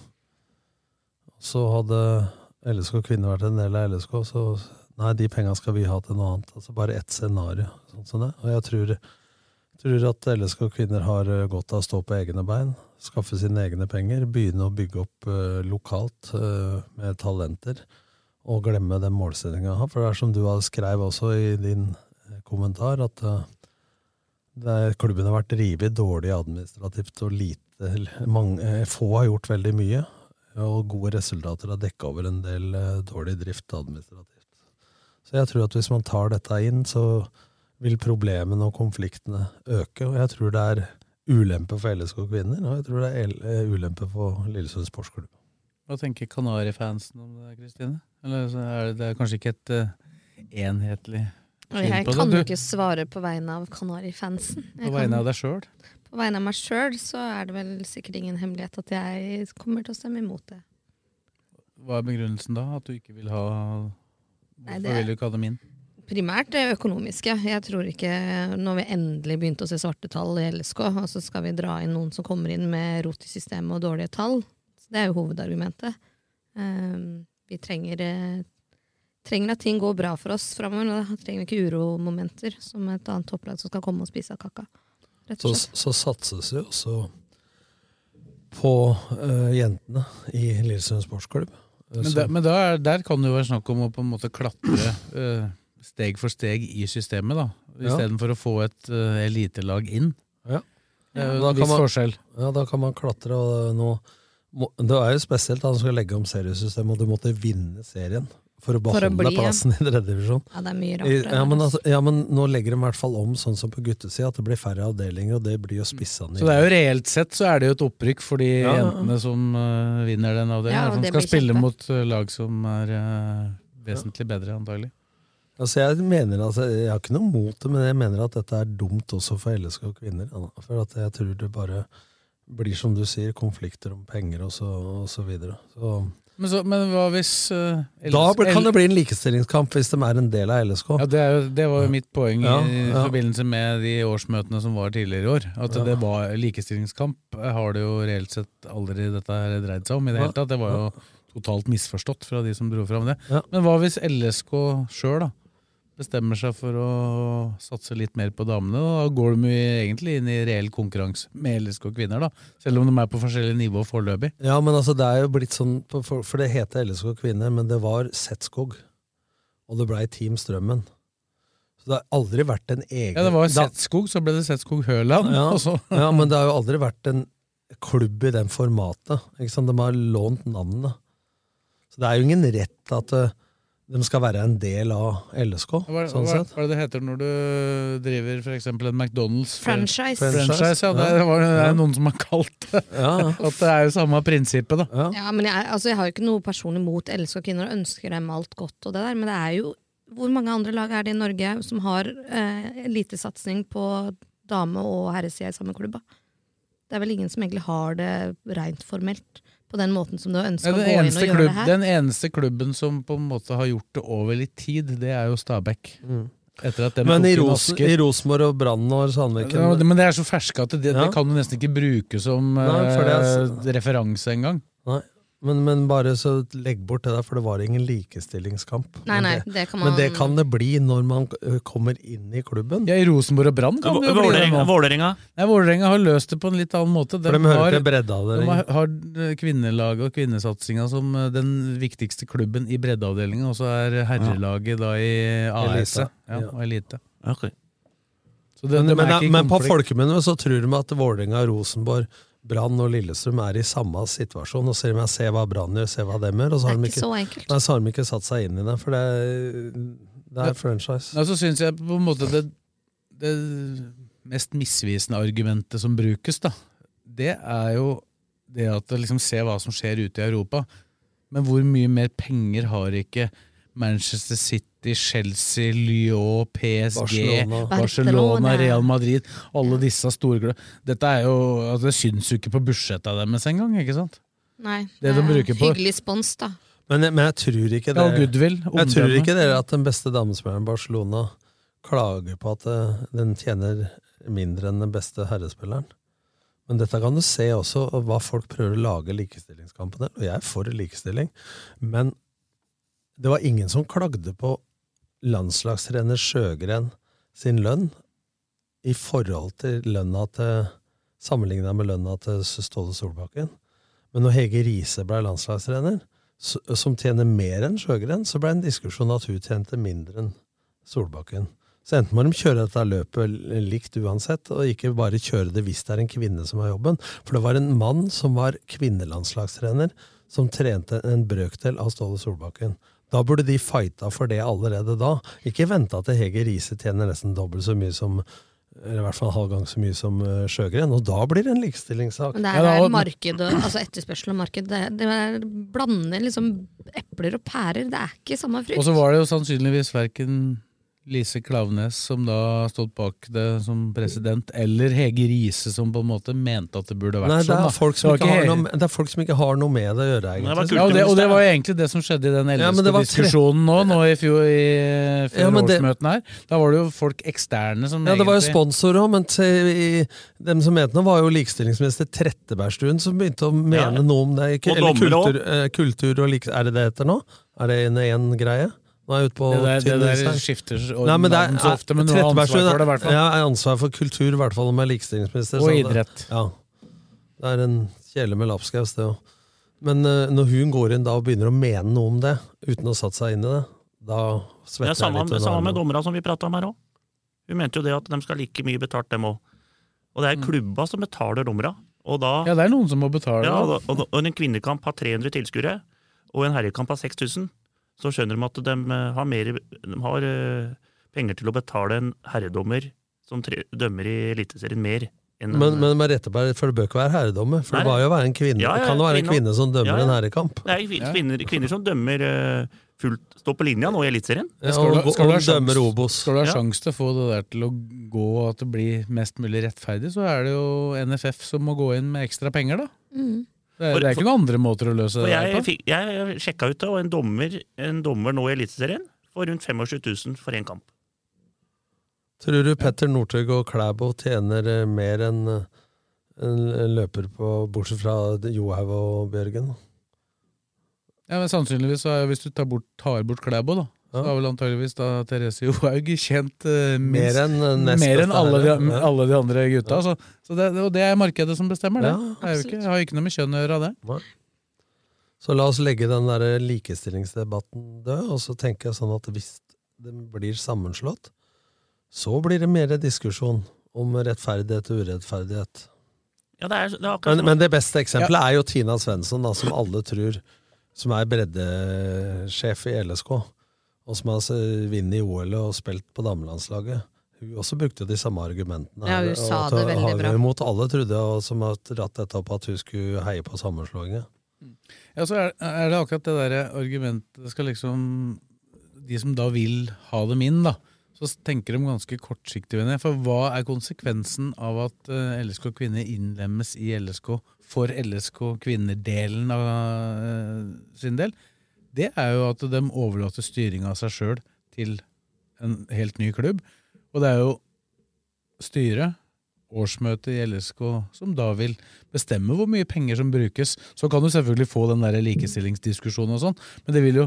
så hadde LSK kvinner vært en del av LSK, så nei, de penga skal vi ha til noe annet. Altså bare ett scenario. Sånn som det. Og jeg tror, tror at LSK kvinner har eh, godt av å stå på egne bein, skaffe sine egne penger, begynne å bygge opp eh, lokalt eh, med talenter og glemme den målsettinga jeg har. For det er som du har skrev også i din eh, kommentar, at eh, det er, klubben har vært rivet dårlig administrativt, og lite, eller mange, eh, få har gjort veldig mye. Og gode resultater har dekka over en del eh, dårlig drift administrativt. Så jeg tror at hvis man tar dette inn, så vil problemene og konfliktene øke. Og jeg tror det er ulempe for LSK kvinner, og jeg tror det er el- eh, ulempe for Lillesund sportsklubb.
Hva tenker Kanarifansen om det, Kristine? Eller så er det, det er kanskje ikke et eh, enhetlig
Jeg
syn på
kan jo
det. Du,
ikke svare på vegne av Kanari-fansen.
på vegne av deg sjøl.
På vegne av meg sjøl så er det vel sikkert ingen hemmelighet at jeg kommer til å stemme imot det.
Hva er begrunnelsen da? At du ikke vil ha
Nei,
Hvorfor
det-
vil du ikke ha dem inn?
Primært det økonomiske. Jeg tror ikke, Når vi endelig begynte å se svarte tall i LSK, og så skal vi dra inn noen som kommer inn med rot i systemet og dårlige tall, så det er jo hovedargumentet. Ehm, vi trenger, eh, trenger at ting går bra for oss framover. Da trenger vi ikke uromomenter som et annet topplag som skal komme og spise av kaka. Rett
Så,
og slett.
så satses jo også på eh, jentene i Lillestrøm sportsklubb. Eh,
Men,
så-
da, men da er, der kan det jo være snakk om å på en måte klatre eh, steg for steg i systemet, da.
Ja.
Istedenfor å få et eh, elitelag inn.
Ja.
Det er jo
Da
en
kan
viss
man-
forskjell.
Ja, da kan man klatre og nå må- Det er jo spesielt at han skal legge om seriesystemet, og du måtte vinne serien for å
For å
beholde
bli, ja.
plassen i tredje divisjon.
Ja, det er mye rart.
I- Ja, men, altså, ja, men nå legger de i hvert fall om sånn som på guttesida, at det blir færre avdelinger, og det blir jo spissa ned.
Så det er jo reelt sett så er det jo et opprykk for de
Ja, ja, ja.
jentene som eh, vinner den
Ja,
avdelingen.
og
som
det
skal
blir
spille
kjempe.
mot eh, lag som er eh, vesentlig bedre, antagelig.
Altså jeg mener altså, jeg har ikke noe mot det, men jeg mener at dette er dumt også for LSK og kvinner. Anna. For at jeg tror det bare blir, som du sier, konflikter om penger og så, og så videre. Så,
Men, så, men hva hvis eh,
da
LS
blir- kan det bli en likestillingskamp hvis de er en del av LSK.
Ja, det, er jo, det var jo mitt poeng
Ja,
i
ja.
forbindelse med de årsmøtene som var tidligere i år. At
Ja.
det var likestillingskamp eh, har det jo reelt sett aldri dette her dreid seg om i det
Ja,
hele tatt. Det var
ja.
jo totalt misforstått fra de som dro fram det.
Ja.
Men hva hvis LSK sjøl da bestemmer seg for å satse litt mer på damene? Da går de jo egentlig inn i reell konkurranse med LSK kvinner, da. Selv om de er på forskjellig nivå foreløpig.
Ja, men altså det er jo blitt sånn, på- for, for det heter LSK kvinner, men det var Setskog. Og det blei Team Strømmen. Så det har aldri vært en egen
Ja, det var jo
da-
Setskog, så ble det Setskog Høland.
Ja,
Og så
ja, men det har jo aldri vært en klubb i den formatet. Ikke sant? De har lånt navnet. Så det er jo ingen rett at eh, de skal være en del av LSK,
Hva,
sånn
hva,
sett.
hva er det det heter når du driver for eksempel en McDonald's?
Franchise.
Franchise, ja, det,
Ja.
var, det
Ja.
er noen som har kalt det. *laughs*
Ja, ja.
At det er jo samme prinsippet, da.
Ja.
Ja, men jeg, altså, jeg har jo ikke noe personlig mot elsker kvinner og ønsker dem alt godt og det der, men det er jo Hvor mange andre lag er det i Norge som har eh, elitesatsing på dame- og herresida i samme klubba? Det er vel ingen som egentlig har det rent formelt på den måten som du ønsker
Ja,
å
den,
gå inn og
eneste
gjøre
klubb,
det her.
den eneste klubben som på en måte har gjort det over litt tid, det er jo Stabæk. Etter at dem
Mm. Men
tok
i
inn
Ros-
Asker.
i Rosenborg og Brann og
Ja,
Sandviken
men- men det er så ferske at det,
Ja.
det kan du nesten ikke bruke som
Nei, for det
eh, referanse engang.
Nei. Men, men bare så legg bort det der, for det var ingen likestillingskamp.
Nei,
Men
nei,
det,
det kan man
men det kan det bli når man eh, kommer inn i klubben.
Ja, I Rosenborg og Brann kan det jo bli det.
Vålerenga.
nå.
Vålerenga.
Nei, Vålerenga har løst det på en litt annen måte.
For
Dem
de hører
har-
til breddeavdelingen.
De har, har eh, kvinnelaget og kvinnesatsinga som eh, den viktigste klubben i breddeavdelinga, og så er herrelaget da i AS
Elite.
ja,
Ja.
og elite.
Ok.
Så det-
men,
de er
men,
ikke i
men på
konflikt.
folkemunne så tror de at Vålerenga, Rosenborg, Brann og Lillestrøm er i samme situasjon. Og så sier de se hva Brann gjør, se hva dem gjør. Og
Det
så har,
er
de
ikke
ikke,
så enkelt.
nei, så har de ikke satt seg inn i det, for det er, det
Ja.
er franchise.
Nei, så syns jeg på en måte det, det mest misvisende argumentet som brukes, da, det er jo det at det liksom se hva som skjer ute i Europa. Men hvor mye mer penger har ikke Manchester City, Chelsea, Lyon, PSG, Barcelona,
Barcelona.
Barcelona.
Real Madrid Alle disse store klubbene. Dette er jo, altså Det syns jo ikke på budsjettet deres engang. ikke sant?
Nei,
Det de
er
bruker på-
Hyggelig spons, da.
Men, jeg- men jeg tror ikke
All
det
goodwill.
Jeg tror
omdømme.
ikke dere at den beste damespilleren i Barcelona klager på at eh, den tjener mindre enn den beste herrespilleren. Men dette kan du se også, og hva folk prøver å lage likestillingskampen der. Og jeg er for likestilling, men det var ingen som klagde på landslagstrener Sjøgren sin lønn i forhold til lønna til Sammenligna med lønna til Ståle Solbakken. Men når Hege Riise ble landslagstrener, s- som tjener mer enn Sjøgren, så ble det en diskusjon at hun tjente mindre enn Solbakken. Så enten må de kjøre dette løpet l- likt uansett, og ikke bare kjøre det hvis det er en kvinne som har jobben. For det var en mann som var kvinnelandslagstrener, som trente en brøkdel av Ståle Solbakken. Da burde de fighta for det allerede da. Ikke vente til Hege Riise tjener nesten dobbelt så mye som eller i hvert fall halv gang så mye som eh, Sjøgren, og da blir det en likestillingssak.
Men det
Ja,
er
da-
marked, og- altså etterspørsel og marked. Det, det er, blander liksom epler og pærer. Det er ikke samme frukt.
Og så var det jo sannsynligvis verken Lise Klaveness, som da stod bak det som president, eller Hege Riise, som på en måte mente at det burde vært
Nei, det
sånn.
er,
da.
folk som
Det var
ikke har
Hege-
noe, det er folk som ikke har noe med det å gjøre,
Ja,
egentlig.
og det, og det var sånn jo egentlig det som skjedde i den
Ja, men det var tre-
LSK-diskusjonen nå, nå i fjor, i fjor
Ja, men det-
årsmøtene her. Da var det jo folk eksterne som
Ja, det var jo
egentlig-
sponsorer òg, men til, i, dem som mente noe, var jo likestillingsminister Trettebergstuen som begynte å mene
Ja.
noe om det. Ikke,
Og
eller
dommere
kultur, eh, kultur og likestilling Er det det heter nå? Er det en én greie? Nå er jeg ute på
Det der- det
tynn
der
is her.
skifter så-
Nei, men det er-
navn så ofte, men du har ansvar
Trettebergstuen
for det, i hvert fall.
Ja, er ansvar for kultur, i hvert fall, om jeg er likestillingsminister.
Og
så det-
idrett.
Ja. Det er en kjele med lapskaus, det òg. Men eh, når hun går inn da og begynner å mene noe om det, uten å ha satt seg inn i det, da
Det
svetter
er samme,
jeg litt. under
samme med
armene.
dommerne som vi prata om her òg. Hun mente jo det at de skal ha like mye betalt, dem òg. Og
Mm.
det er klubba som betaler dommerne. Og da,
Ja, det er noen som må betale.
ja,
da.
og, og, og en kvinnekamp har 300 tilskuere, og en herrekamp har 6000. Så skjønner de at de eh, har, mer, de har eh, penger til å betale en herredommer som tre, dømmer i Eliteserien mer. enn en-
Men, men med rette på, for det bør ikke være herredommer. For
Nei.
det var jo å være en kvinne.
Ja, ja,
det kan jo være en
kvinne.
kvinne som dømmer
Ja, ja.
en herrekamp.
Det er kvin- kvinner, kvinner som dømmer eh, fullt, står på linja nå i Eliteserien.
Ja, Skal du- og- skal du og ha sjans- dømmer Obos.
Skal du ha
Ja.
sjanse til å få det der til å gå, og at det blir mest mulig rettferdig, så er det jo NFF som må gå inn med ekstra penger, da.
Mm.
Det er,
For-
det er ikke noen andre måter å løse
For
det
jeg,
der på.
fikk, jeg sjekka ut det, og en dommer, en dommer nå i Eliteserien får rundt 25 000 for én kamp.
Tror du Petter Northug og Klæbo tjener eh, mer enn eh, en en løper på Bortsett fra Johaug og Bjørgen?
Ja, men sannsynligvis, så er, hvis du tar bort, tar bort Klæbo, da, så har vel antageligvis da Therese Johaug tjent eh, minst,
Mer enn, eh, nest
mer enn
beste
alle, de,
herre. Ja.
alle de andre gutta. Så, så det, og det er markedet som bestemmer det.
Ja,
det er jo ikke, har jo ikke noe med kjønn å gjøre, det.
Så la oss legge den der likestillingsdebatten død, og så tenker jeg sånn at hvis den blir sammenslått, så blir det mer diskusjon om rettferdighet og urettferdighet.
Ja, det er, det er akkurat
Men,
som-
men det beste eksempelet er jo Tina Svensson, da, som alle tror som er breddesjef i LSK, og som har altså vunnet i OL og spilt på damelandslaget. Hun også brukte de samme argumentene.
Ja, hun
her,
sa
og
det
at-
veldig bra.
har Mot alle trodde, og som har dratt dette opp, at hun skulle heie på sammenslåingen.
Ja, så er, er det akkurat det der argumentet det skal liksom De som da vil ha dem inn, da, så tenker de ganske kortsiktig. mener jeg. For hva er konsekvensen av at eh, LSK kvinner innlemmes i LSK for LSK kvinner-delen av eh, sin del? Det er jo at de overlater styringa av seg sjøl til en helt ny klubb. Og det er jo styret, årsmøtet i LSK, som da vil bestemme hvor mye penger som brukes. Så kan du selvfølgelig få den der likestillingsdiskusjonen og sånn, men det vil jo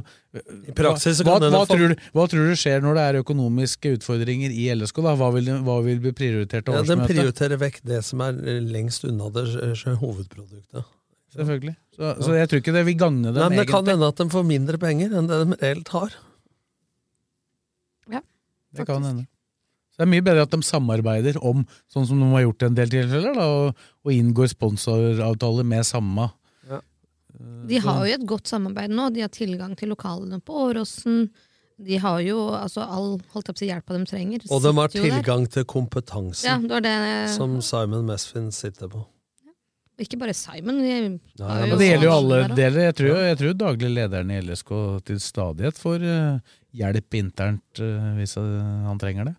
I
praksis så
hva,
kan den
hva,
få-
tror du, hva tror du skjer når det er økonomiske utfordringer i LSK? da? Hva vil, hva vil bli prioritert av
Ja, den
årsmøtet?
prioriterer vekk det som er eh, lengst unna det eh, sjø- hovedproduktet.
Selvfølgelig. Så, så jeg tror ikke det vil gagne dem,
Nei, men det kan
egentlig.
hende at de får mindre penger enn det de reelt har.
Det kan hende. Så det er mye bedre at de samarbeider om, sånn som de har gjort i en del tilfeller, da, og, og inngår sponsoravtaler med samme.
De har jo et godt samarbeid nå. De har tilgang til lokalene på Åråsen. De har jo altså, all holdt jeg på å si, hjelpa de trenger.
Og de har
sitter jo der.
tilgang til kompetansen
Ja, det var det-
som Simon Mesfin sitter på.
Ikke bare Simon. De har
Men
jo
det gjelder jo
sånn
alle
der, da.
deler. Jeg tror, jeg tror daglig lederen i LSK til stadighet får eh, hjelp internt eh, hvis eh, han trenger det.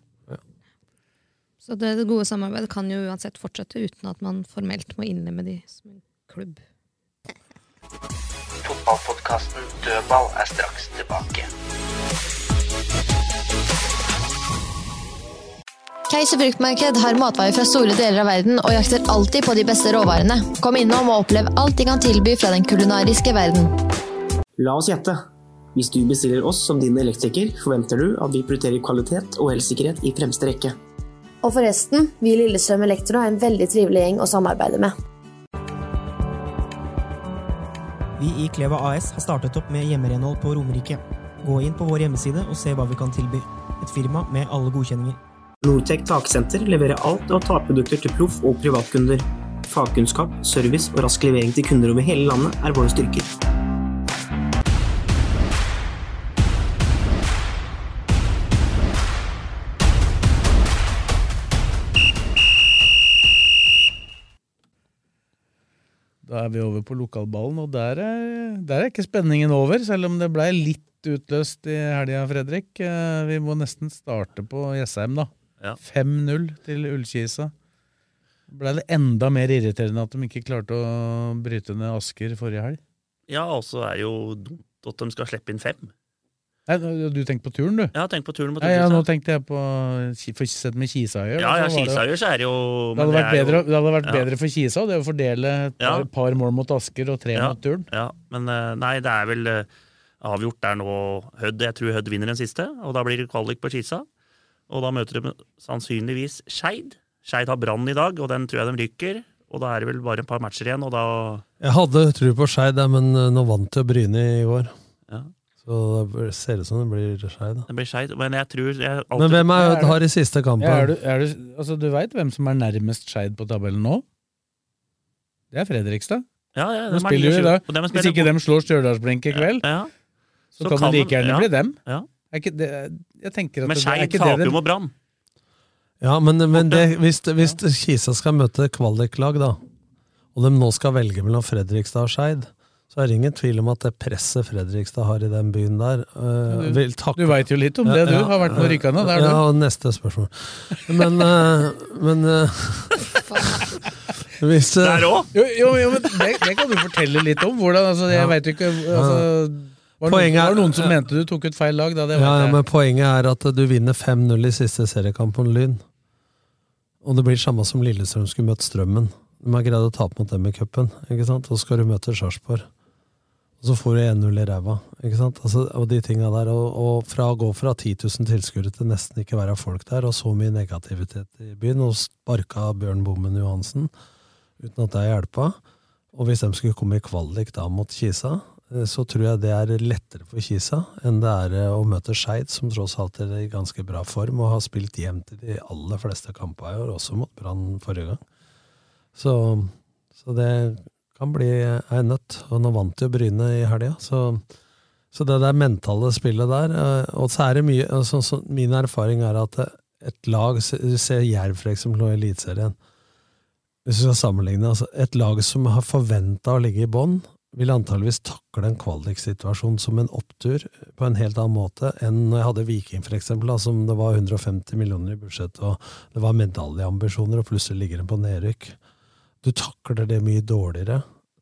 Så det, det gode samarbeidet kan jo uansett fortsette uten at man formelt må innlemme de som en klubb.
Fotballpodkasten Dødball er straks tilbake.
Keiser fruktmarked har matvarer fra store deler av verden og jakter alltid på de beste råvarene. Kom innom og opplev alt de kan tilby fra den kulinariske verden.
La oss gjette. Hvis du bestiller oss som din elektriker, forventer du at vi prioriterer kvalitet og elsikkerhet i fremste rekke.
Og forresten, vi i Lillestrøm Elektro er en veldig trivelig gjeng å samarbeide med.
Vi i Kleva AS har startet opp med hjemmerenhold på Romerike. Gå inn på vår hjemmeside og se hva vi kan tilby. Et firma med alle godkjenninger.
Nortec taksenter leverer alt av takprodukter til proff og privatkunder. Fagkunnskap, service og rask levering til kunder over hele landet er våre styrker.
Da er vi over på lokalballen, og der er, der er ikke spenningen over, selv om det blei litt utløst i helga, Fredrik. Eh, Vi må nesten starte på Jessheim, da. 5-0 til Ullkisa. Blei det enda mer irriterende at de ikke klarte å bryte ned Asker forrige helg?
Ja, og så er det jo dumt at de skal slippe inn fem.
Nei, du tenker på turen, du?
Ja, tenk på turen mot
Ja, ja, nå
Ullkisa.
tenkte jeg på For sett med Kisøyer.
Ja, ja,
så sånn var det-
Kisøyer så er det jo-
Det hadde
men
vært,
det er
bedre,
jo-
det hadde vært
Ja.
bedre for Kisa det å fordele et par,
Ja.
par mål mot Asker og tre
ja,
mot Turn.
Ja, men eh, nei, det er vel eh, avgjort der nå. Hødd, jeg tror Hødd vinner den siste, og da blir det kvalik på Kisa. Og da møter de sannsynligvis Skeid. Skeid har Brann i dag, og den tror jeg de rykker. Og da er det vel bare et par matcher igjen, og da
Jeg hadde tro på Skeid, ja, men eh, nå vant jo Bryne i går.
Ja.
Så det ser ut som det blir Skeid. da.
det blir Skeid. Men jeg tror jeg alltid,
Men hvem er Hødd har i siste kampen?
Ja, er du, er du, altså, du veit hvem som er nærmest Skeid på tabellen nå? Det er Fredrikstad.
Ja, ja,
de
dem er
spiller jo i
29,
dag.
og dem
Hvis
spiller
ikke
god-
dem slår Stjørdalsblink i kveld, så,
Så
kan
kan
det like
de-
gjerne
ja,
bli dem.
ja.
Er ikke det, jeg tenker at
Men
det- er
Skeid
ikke det
taper
det-
jo mot Brann.
Ja, men, men det, hvis, hvis Kisa skal møte kvaliklag, da, og de nå skal velge mellom Fredrikstad og Skeid, så er det ingen tvil om at det presset Fredrikstad har i den byen der eh,
Du-
vil takke.
du vet jo litt om det, du. Har vært på Rykane, der, du.
Ja, og neste spørsmål. Men, eh, men eh, *laughs* hvis, eh,
Jo, jo, jo, men det, det kan du fortelle litt om. Hvordan, altså, jeg vet jo ikke altså, var, det noen,
Poenget er-
var det noen som mente du tok ut feil lag? Da, det vet
Ja, ja,
jeg.
men poenget er at du vinner 5-0 i siste seriekamp mot Lyn. Og det blir samme som Lillestrøm skulle møtt Strømmen. De har greid å tape mot dem i cupen, ikke sant? Og så skal du møte Sarpsborg. Og så får du 1-0 i ræva, ikke sant? Altså, og de tinga der. Og, og fra å gå fra 10 000 tilskuere til nesten ikke være folk der, og så mye negativitet i byen, og sparka Bjørn Bommen Johansen uten at det hjelpa. Og hvis de skulle komme i kvalik da mot Kisa, eh, så tror jeg det er lettere for Kisa enn det er eh, å møte Skeid, som tross alt er i ganske bra form og har spilt jevnt i de aller fleste kampene i år, også mot Brann forrige gang. Så, så det kan bli ei nøtt. Og nå vant jo Bryne i helga, så, så det der mentale spillet der eh, Og så er det mye eh, sånn som Min erfaring er at eh, et lag se- Se Jerv, for eksempel, nå i Eliteserien. Hvis vi skal sammenligne, altså et lag som har forventa å ligge i bånn, vil antageligvis takle en kvaliksituasjon som en opptur på en helt annen måte enn når jeg hadde Viking, for eksempel, da, som det var 150 millioner i budsjett, og det var medaljeambisjoner, og plutselig ligger den på nedrykk. Du takler det mye dårligere.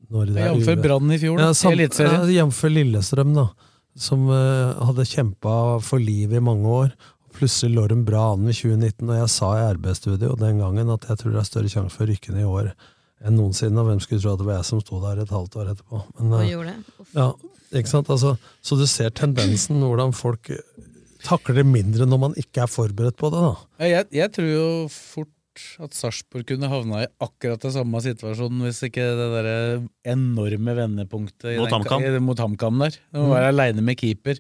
Når det er
Jamfør
uve-
Brann i fjor, da,
Ja,
i
sam-
Eliteserien.
ja, Jf. Lillestrøm, da, som eh, hadde kjempa for livet i mange år. Plutselig lå de bra an i 2019, og jeg sa i RB-studio den gangen at jeg tror det er større sjanse for å rykke ned i år enn noensinne, og hvem skulle tro at det var jeg som sto der et halvt år etterpå. Men,
Og
eh,
gjorde det.
ja, ikke sant? Altså, så du ser tendensen, hvordan folk takler det mindre når man ikke er forberedt på det. da.
Ja, Jeg, jeg tror jo fort at Sarpsborg kunne havna i akkurat den samme situasjonen hvis ikke det derre enorme vendepunktet i
Mot
den ka-
HamKam.
i- mot HamKam der. De
Mm.
var aleine med keeper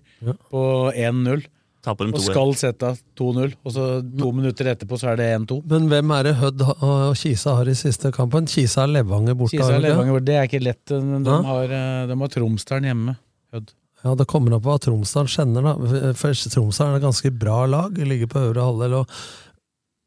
på 1-0.
Taper de
Og
2-1.
skal sette 2-0, og så to minutter etterpå så er det 1-2.
Men hvem er det Hødd ha- og Kisa har i siste kampen? Kisa er Levanger borte.
Kisa
har
og
de ikke?
Levanger, det er ikke lett. Men de,
Ja.
har, eh, de har Tromsdalen hjemme. Hødd.
Ja, Det kommer an på hva Tromsdalen kjenner. da. For Tromsdalen er et ganske bra lag, ligger på øvre halvdel. og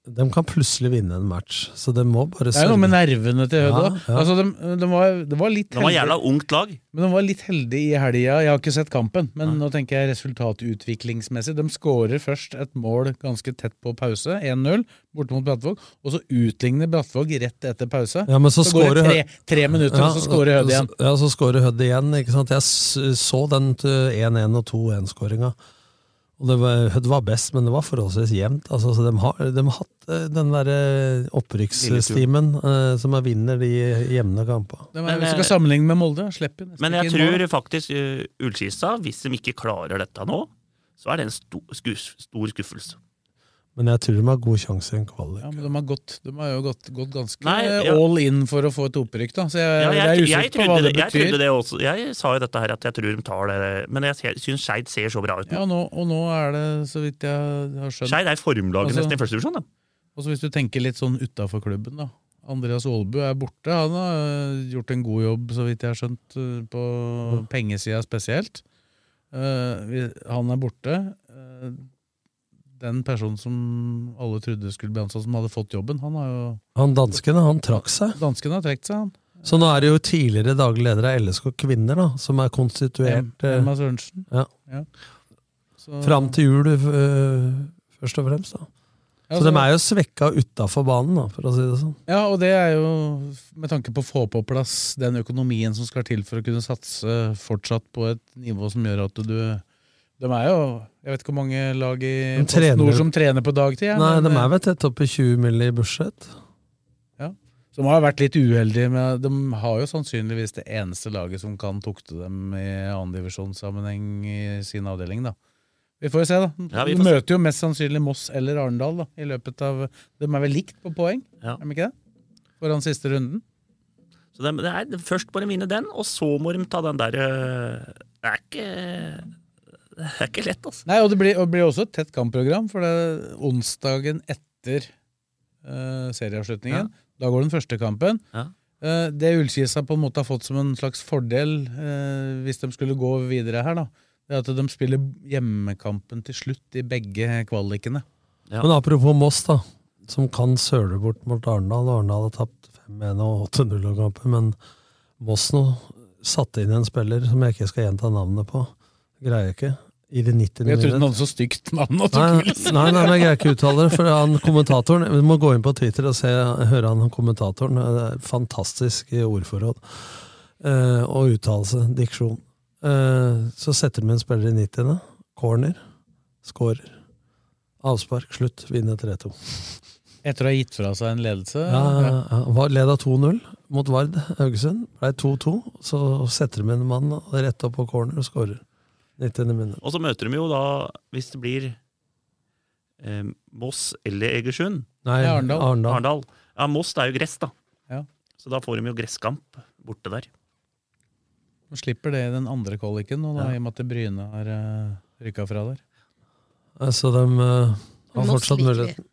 De kan plutselig vinne en match, så de må bare
Det er noe med nervene til Hødd
Ja,
òg.
ja.
Altså, de, de var, det var litt
De var
heldige.
jævla ungt lag.
Men de var litt heldige i helga. Jeg har ikke sett kampen, men nå tenker jeg resultatutviklingsmessig. De skårer først et mål ganske tett på pause, 1-0, borte mot Brattvåg. Og så utligner Brattvåg rett etter pause.
Ja, men så,
går
scorer
det tre,
Hødd-
tre minutter,
Ja,
og så skårer Hødd igjen.
Ja, så scorer Hødd igjen. ikke sant? Jeg s- så den til 1-1 og 2-1-skåringa. Og det var, Hødd var best, men det var forholdsvis jevnt. Altså, så de, har, de har hatt eh, den derre opprykksstimen eh, som er vinner de jevne kampene.
De
Men,
er, hvis du
eh,
skal sammenligne med Molde, slipper nesten
Men jeg
ikke inn mål.
tror faktisk eh, Ullskisa, hvis de ikke klarer dette nå, så er det en stor, skuff- stor skuffelse.
Men jeg tror de har god sjanse i en kvalik.
Ja, men de har gått, de har jo gått, gått ganske
Nei, ja.
all in for å få et opprykk, da. Så jeg,
Ja,
Eh, jeg,
jeg,
er
jeg,
usikker på hva
trodde
det
det, jeg
betyr.
trodde det også. Jeg sa jo dette her at jeg tror de tar det, men jeg syns Skeid ser så bra ut.
Ja, nå, og nå er det, så vidt jeg har skjønt
Skeid er
Altså-
formlaget nesten i første divisjon, da.
Og så hvis du tenker litt sånn utafor klubben, da. Andreas Aalbu er borte. Han har øh, gjort en god jobb, så vidt jeg har skjønt, øh, på
Mm.
pengesida spesielt. Eh, vi- han er borte. Eh, den personen som alle trodde skulle bli ansatt, som hadde fått jobben, han har jo
Han dansken, han trakk seg.
Dansken har trukket seg, han.
Så nå er det jo tidligere daglig leder av LSK Kvinner, da, som er konstituert eh,
Emma Sørensen.
Ja.
Ja. Så-
Fram til jul, eh, først og fremst. da.
Ja,
så
så-
de er jo svekka utafor banen, da, for å si det sånn.
Ja, og det er jo med tanke på å få på plass den økonomien som skal til for å kunne satse fortsatt på et nivå som gjør at du De er jo Jeg vet ikke hvor mange lag i
De trener-
Nord som trener på dagtid. ja,
Nei,
men, eh,
de er vel tett opp i 20 mill. i budsjett.
som har vært litt uheldige, men de har jo sannsynligvis det eneste laget som kan tukte dem i annendivisjonssammenheng i sin avdeling, da. Vi får jo se, da.
Ja, vi
du
får se.
møter jo mest sannsynlig Moss eller Arendal da, i løpet av De er vel likt på poeng,
Ja.
er de ikke det? Foran siste runden.
Så det, det er, først må de vinne den, og så må de ta den der øh, Det er ikke Det er ikke lett, altså.
Nei, og det blir, og det blir også et tett kampprogram, for det er onsdagen etter eh, serieavslutningen. Da går den første kampen.
Ja.
Eh, det Ullkisa på en måte har fått som en slags fordel eh, hvis de skulle gå videre her, da, det er at de spiller hjemmekampen til slutt i begge kvalikene.
Men apropos Moss, da, som kan søle bort mot Arendal. Arendal har tapt 5-1 og 8-0-kampen, men Moss nå satte inn en spiller som jeg ikke skal gjenta navnet på. Greier jeg ikke. I det 90
Jeg trodde den
minutter.
hadde så stygt navn. at du
Nei,
ikke
nei,
ville si
nei,
det.
men jeg greier ikke å uttale det. For han kommentatoren Vi må gå inn på Twitter og se, høre han kommentatoren. Det er Fantastisk i ordforråd. Eh, og uttalelse. Diksjon. Eh, så setter de en spiller i 90. Corner. Scorer. Avspark. Slutt. Vinner 3-2.
Etter å ha gitt fra seg en ledelse.
Ja, ja, ja. Var- Leda 2-0 mot Vard Haugesund. Ble 2-2. Så setter de en mann og rett opp på corner og scorer. 90. minutt.
Og så møter de jo da, hvis det blir eh, Moss eller Egersund
Nei, Ja, Arendal. Arendal.
Ja, Moss det er jo gress, da.
Ja.
Så da får de jo gresskamp borte der.
De slipper det i den andre kvaliken, nå, da,
Ja.
i og med at Bryne har uh, rykka fra der.
Eh, Så de eh, har
Moss
fortsatt
liker
mulighet.
vi.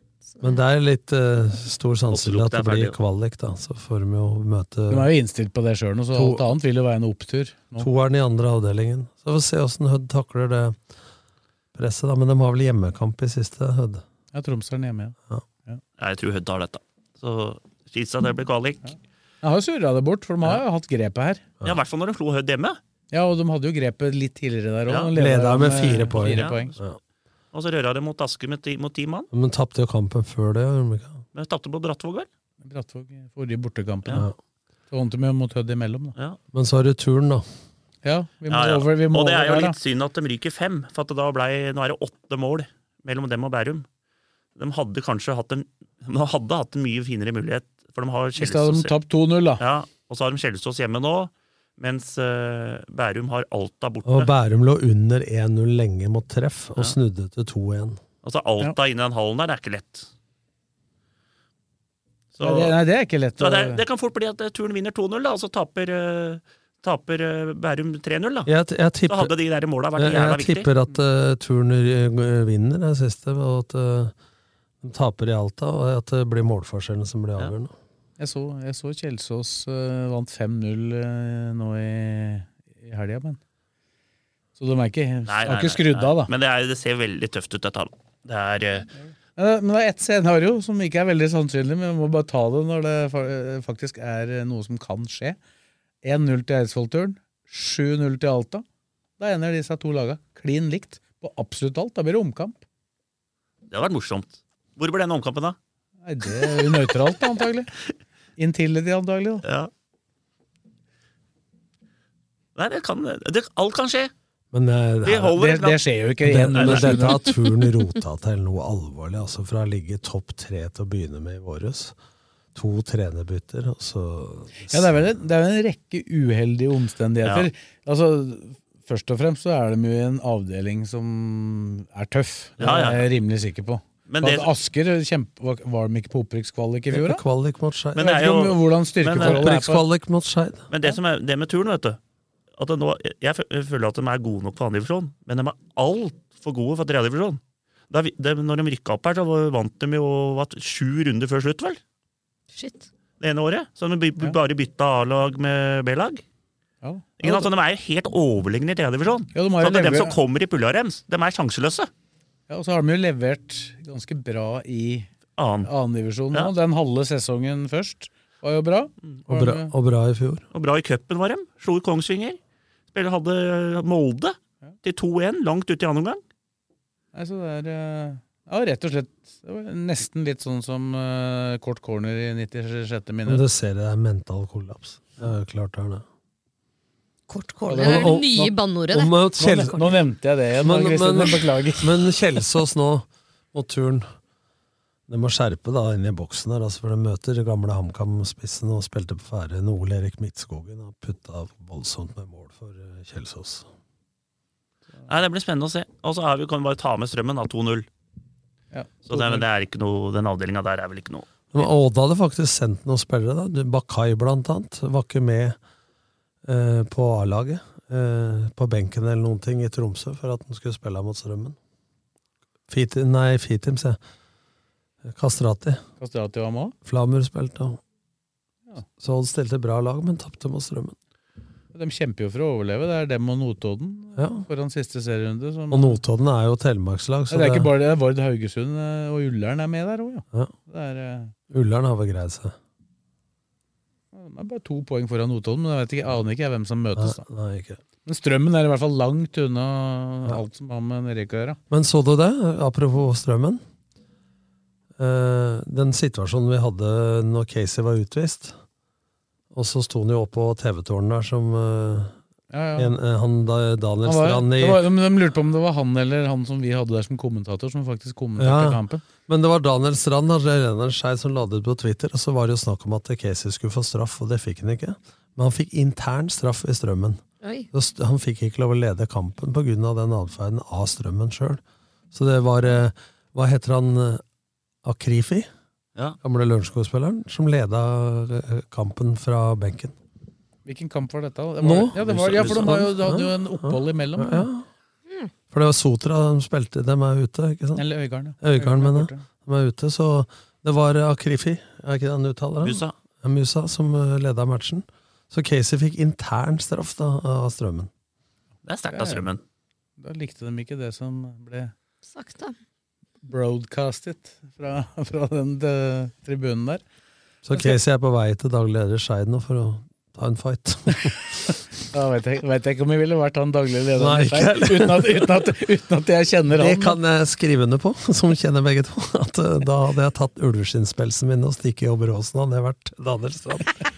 Men det er litt eh, stor sannsynlig at
Moss lukter
det
er
blir
ferdig,
kvalik, da. Så får de jo møte
De er jo innstilt på det sjøl, så
To-
alt annet vil jo være en opptur. nå.
toeren i andre avdelingen. Så får vi se åssen Hødd takler det presset, da. Men de har vel hjemmekamp i siste, Hødd.
Ja, Tromsø er den hjemme, ja.
Jeg tror Hødd har dette. Så Skisa, det blir kvalik.
Jeg har jo surra det bort, for de har jo hatt grepet her.
Ja, I hvert fall når de slo Hødd hjemme.
Ja, og de hadde jo grepet litt tidligere der òg.
Ja.
Leda med fire poeng.
eh, Fire poeng.
Ja.
Og så røra de mot Aske med ti, mot ti mann.
Men de tapte jo kampen før det. gjorde de ikke?
Men tapte på Brattvåg, vel?
Brattvåg i forrige bortekampen.
Ja.
Så vant de jo mot Hødd imellom, da.
Ja.
Men så har du turn, da.
vi må over vi må
og det er jo
over der,
litt synd at de ryker fem, for at da ble, nå er det åtte mål mellom dem og Bærum. De hadde kanskje hatt en, de hadde hatt en mye finere mulighet, for de har
da. Hvis de hadde
Kjelsås
tapt 2-0, da.
Ja, og så har de Kjelsås hjemme nå, mens eh, Bærum har Alta borte.
Og Bærum lå under 1-0 lenge mot treff, og
Ja.
snudde til 2-1.
Altså Alta inne i den hallen der, det er ikke lett. Så-
Nei, det, nei, det er ikke lett.
Så det,
å-
det kan fort bli at eh, turen vinner 2-0, da, og så taper, eh, taper eh, Bærum 3-0. da.
Jeg, jeg, tipper,
så hadde de der måla vært
Eh, jeg,
jævla
jeg
viktig.
tipper at uh, Turner eh, vinner den siste, og at eh, de taper i Alta, og at det blir målforskjellen som blir avgjørende.
Jeg så, jeg så Kjelsås eh, vant 5-0 eh, nå i, i helga, men Så de er ikke,
Nei,
har
nei,
ikke
nei,
skrudd
nei.
av, da.
Men det, er, det ser veldig tøft ut, dette. da. Det er eh,
Eh, Men det er ett scenario som ikke er veldig sannsynlig, men vi må bare ta det når det fa- eh, faktisk er eh, noe som kan skje. 1-0 til Eidsvollturen, 7-0 til Alta. Da ender disse to laga klin likt på absolutt alt. Da blir det omkamp.
Det hadde vært morsomt. Hvor ble den omkampen, da?
Nei, det er jo nøytralt, antagelig. Intility, antagelig. da.
Ja. Nei, det kan det, Alt kan skje.
Men eh,
Vi holder et knapt-
Det,
Nei,
men
nei, nei.
dette har turen rota til noe alvorlig. altså Fra å ligge topp tre til å begynne med i våres. To trenerbytter, og så
Ja, det er vel en, det er vel en rekke uheldige omstendigheter. Altså, først og fremst så er de jo i en avdeling som er tøff. Det
Ja, ja, ja.
er altså, jeg rimelig sikker på.
Men
For
det-
at Asker kjempe, var- var de ikke på opprykkskvalik i fjor, da?
Kvalik mot Skeid.
Men det er jo-
hvordan
Men, eh,
styrkeforholdet er på
Opprykkskvalik mot Skeid.
Men det som er det med turen, vet du at det nå, Jeg fø- jeg føler at de er gode nok for andredivisjon, men de er altfor gode for tredjedivisjon. Da vi- de- Når de rykka opp her, så var- vant de jo hva, sju runder før slutt, vel?
Shit.
Det ene året. Så de by- bare bytta A-lag med B-lag.
Ja.
Ikke sant? Så De er jo helt overlegne i tredjedivisjon.
Ja, de har jo
så at dem
lever-
som kommer i pulja deres, de er sjanseløse.
Ja, og så har de jo levert ganske bra i
Annen.
annendivisjon nå. Den halve sesongen først. Var jo bra.
Og bra, og bra i fjor.
Og bra i cupen var dem. Slo ut Kongsvinger. Spiller hadde Molde til 2-1, langt ut i andre omgang.
Nei, så det er eh, ja, rett og slett det var nesten litt sånn som eh, kort corner i 96.
Men
minutt.
du ser det er mental kollaps. Det er jo klart det er det.
Kort corner det er det nye banneordet, det.
Nå, Kjell-
Nå nevnte jeg det igjen,
Men-
Kristin,
men-
jeg beklager.
Men Kjelsås nå, og turn De må skjerpe da inn i boksen her, altså, for de møter gamle HamKam-spissen og spilte på Færøyene. Ole Erik Midtskogen har putta voldsomt med mål for eh, Kjelsås.
Nei, Det blir spennende å se. Og så er vi- kan vi bare ta med strømmen, da. 2-0.
Ja,
Så det, er- det er ikke noe, den avdelinga der er vel ikke noe
Men Odda hadde faktisk sendt noen spillere. da. Du- Bakai blant annet var ikke med eh, på A-laget. Eh, på benken eller noen ting i Tromsø for at han skulle spille mot Strømmen. Fiti, nei, Fitim, sier jeg. Kastrati.
Kastrati var med òg.
Flamur spilte òg. Så Odd stilte bra lag, men tapte mot Strømmen.
De kjemper jo for å overleve. Det er dem og Notodden
Ja.
foran siste serierunde. Som,
Og Notodden er jo telemarkslag,
Ja,
så
det er ikke
det-
bare det, Vard Haugesund eh, og Ullern er med der òg, ja.
Ja.
Det er, eh,
Ullern har vel greid seg.
det er bare to poeng foran Notodden, men jeg vet ikke, jeg aner ikke jeg hvem som møtes. da.
Nei, ikke.
Men strømmen er i hvert fall langt unna alt som har med Nerika å gjøre.
Men så du det, apropos strømmen? Eh, den situasjonen vi hadde når Casey var utvist, og så sto han jo oppå TV-tårnet der som eh,
Ja, ja.
En, eh, han da, Daniel
Han var,
Strand i
det var, men de lurte på om det var han eller han som vi hadde der som kommentator, som faktisk kommenterte
Ja,
kampen.
Men det var altså, Daniel Strand Renner Skei, som la det ut på Twitter, og så var det jo snakk om at Casey skulle få straff, og det fikk han ikke. Men han fikk intern straff i strømmen.
Oi.
Så st- Han fikk ikke lov å lede kampen pga. den atferden av strømmen sjøl. Så det var eh, Hva heter han? eh, Akrifi?
Ja.
Gamle Lørenskog-spilleren som leda eh, kampen fra benken.
Hvilken kamp var dette? da? Det var,
Nå?
Ja, det var, ja, for de har jo, da
Ja,
hadde jo en opphold imellom.
ja. For det var Sotra de spilte, de er ute, ikke sant?
Eller Øygarden, ja.
ja. Øygarden,
Øygarden er
mener jeg. De er ute, så det var eh, Akrifi, er ikke det han uttaler? han?
Musa.
Ja, Musa, som eh, leda matchen. Så Casey fikk intern straff da, av strømmen.
Det er sterkt av
Ja, ja.
strømmen.
Da likte de ikke det som ble
Sagt, da.
broadcastet fra, *laughs* fra den eh, tribunen der.
Så
Jeg skal-
Casey er på vei til daglig leder Skeid nå for å ta en fight. *laughs*
Da vet jeg, vet jeg ikke om jeg ville vært han daglige lederen
Nei,
der,
ikke heller.
uten, at, uten, at, uten at jeg kjenner
Det
han.
kan jeg skrive under på, *laughs* som kjenner begge to. At eh, da hadde jeg tatt ulveskinnspelsene mine og stikket i Oberåsen, hadde jeg vært Daniel Strand.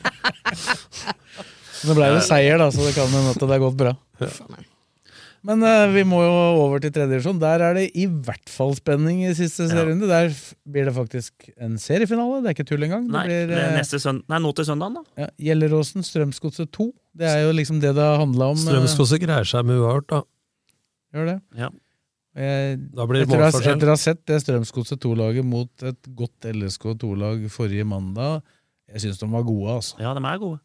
Men Det ble jo seier, da, så det kan hende at det har gått bra. Men eh, vi må jo over til tredje divisjon. Der er det i hvert fall spenning i siste serierunde. Der f- blir det faktisk en seriefinale. Det er ikke tull engang.
Nei,
det
det
blir
er
eh,
neste søndag. Nei, nå til søndagen, da.
ja, Gjelleråsen Strømsgodset 2. Det er jo liksom det det har handla om. eh,
Strømskose greier seg med uavgjort, da.
Gjør det. Jeg,
Da blir det
etter, å ha,
målforskjell.
etter å ha sett det Strømsgodset 2-laget mot et godt LSK2-lag forrige mandag Jeg syns de var gode, altså.
Ja, de er gode.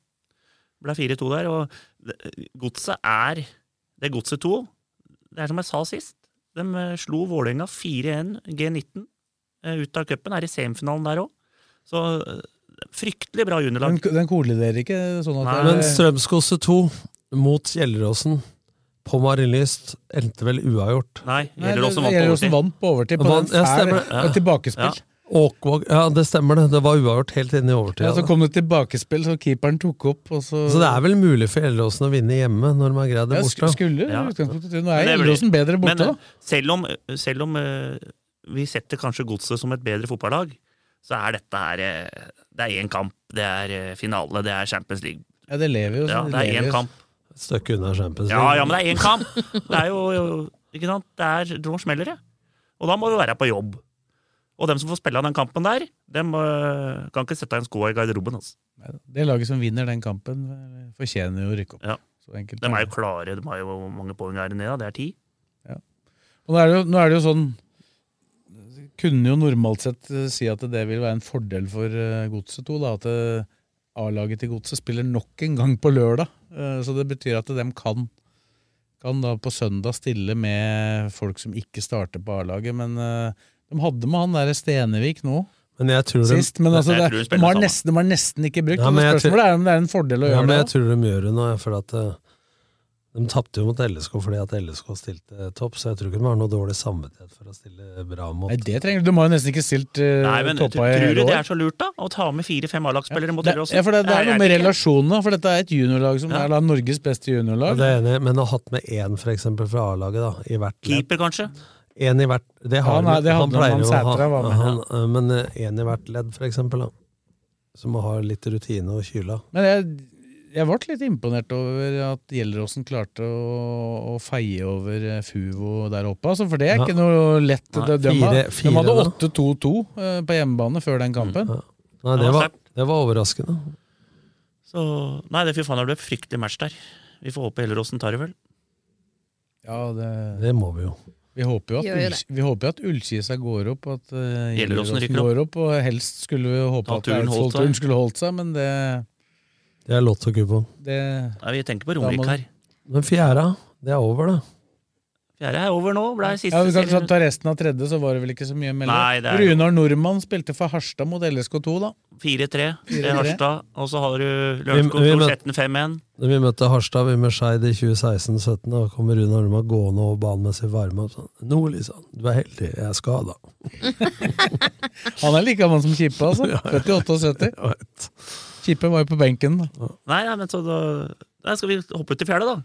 Det ble 4-2 der, og det- godset er Det er godset 2. Det er som jeg sa sist. De eh, slo Vålerenga 4-1 G19 eh, ut av cupen. Er i semifinalen der òg. Så eh, fryktelig bra juniorlag.
Den, den kolliderer ikke sånn at
Men Strømskose 2 mot Gjelleråsen på Marienlyst endte vel uavgjort.
Nei,
Nei, Gjelleråsen vant på Gjelleråsen overtid. vant på overtid på
Vant-
den
ja,
fæle-
stemmer det.
Ja. tilbakespill.
Ja. Åkvåg, ja, det stemmer det. Det var uavgjort helt inn i overtida.
Ja, så kom det tilbakespill, så keeperen tok opp, og så
Så det er vel mulig for Gjelleråsen å vinne hjemme når de har greid det
Ja,
borte?
sk- skulle
Ja.
utgangspunktet til. Nå
Men
er
det blir-
Gjelleråsen bedre
Men,
borte,
eh, Selv om, selv om eh, vi setter kanskje godset som et bedre fotballag, så er dette her eh, Det er én kamp, det er eh, finale, det er Champions League.
da. Ja, det lever jo. så
Ja, det er
lever
én
jo.
kamp.
Et stykke unna Champions
Ja, ja, men det er én kamp! Det er jo, jo Ikke sant? Det er Nå smeller det. Og da må du være på jobb. Og dem som får spille av den kampen der, dem øh, kan ikke sette en skoa i garderoben. Altså.
Det laget som vinner den kampen, eh, fortjener jo å rykke opp.
Ja.
Så enkelt
De
er
er
det.
jo klare. De har jo hvor mange poeng er det nede, da? det er ti.
Og nå er, det jo, nå er det jo sånn Kunne jo normalt sett eh, si at det vil være en fordel for eh, Godset 2. Da, at eh, A-laget til Godset spiller nok en gang på lørdag. Eh, Så det betyr at de kan, kan da på søndag stille med folk som ikke starter på A-laget. Men eh, de hadde med han der Stenevik nå.
Men jeg tror de-
Sist, men altså,
Jeg
det,
tror de
de,
spiller
har
sammen.
nesten, de har nesten ikke brukt.
Ja,
og
men jeg tror-
spørsmålet er om det er en fordel å
Ja,
gjøre
men
det.
jeg tror de gjør det nå, jeg, for at eh, De tapte jo mot LSK fordi at LSK stilte topp, så jeg tror ikke de har noe dårlig samvittighet for å stille bra mot
Nei, det trenger du. De har jo nesten ikke stilt eh,
Nei, men
toppa i
Tror
hele
du det
år.
er så lurt, da? Å ta med fire-fem A-lagsspillere mot
Det,
Røros?
ja, for det, det er noe med relasjonene, for dette er et juniorlag som
Ja.
er da Norges beste
Ja,
juniorlag.
det er jeg enig, i, men å ha hatt med én for eksempel fra A-laget da, i hvert ledd.
Keeper, kanskje?
En i hvert, det har
Ja, nei,
han,
det
han
hadde han,
pleier jo å ha,
Sætra var med.
han, eh, men én i hvert ledd for eksempel da. Som må ha litt rutine og kyla.
Men jeg, jeg ble litt imponert over at Gjelleråsen klarte å, å feie over eh, Fuvo der oppe. Altså, for det er
Ja.
ikke noe lett.
Nei,
de, de,
fire-
hadde-
fire
de hadde
da. Mm.
8-2-2 eh, på hjemmebane før den kampen.
Nei,
Ja,
det var, det var overraskende.
Så, nei, det fy faen, det ble et fryktelig match der. Vi får håpe Helleråsen tar det, vel.
Ja, det,
Det må vi jo.
vi håper jo at,
Gjør jo
Ull- vi håper jo at Ullkisa går opp, at eh,
Gjelleråsen
Gjelleråsen
rykker
går opp, og helst skulle vi håpe
Da
at
turen holdt seg.
Eidsvollturen skulle holdt seg, men det,
Det er lottokupong.
det
Nei, vi tenker på
Da må
Romerike
du-
her.
Men fjæra, det er over, det.
Fjerde er over nå, ble siste
Ja, vi kan liksom
serien.
ta resten av tredje, så var det vel ikke så mye
Nei,
mellom.
det er-
Runar Nordmann spilte for Harstad mot LSK2, da.
4-3 til
4-3.
Harstad, og så har du
Vi- vi
Lørenskog
møt-
16-5-1.
Når vi møtte Harstad, vi med Skeid i 2016-17, da kommer Rune Orma gående over banen med sin varme opp sånn. Nå, Lisa, du er heldig, jeg er skada.
Han er like gammel som Kippe, altså.
*laughs*
Født i 78. Kippe var jo på benken, da.
Nei, nei, men så da Nei, skal vi hoppe ut til fjerde, da?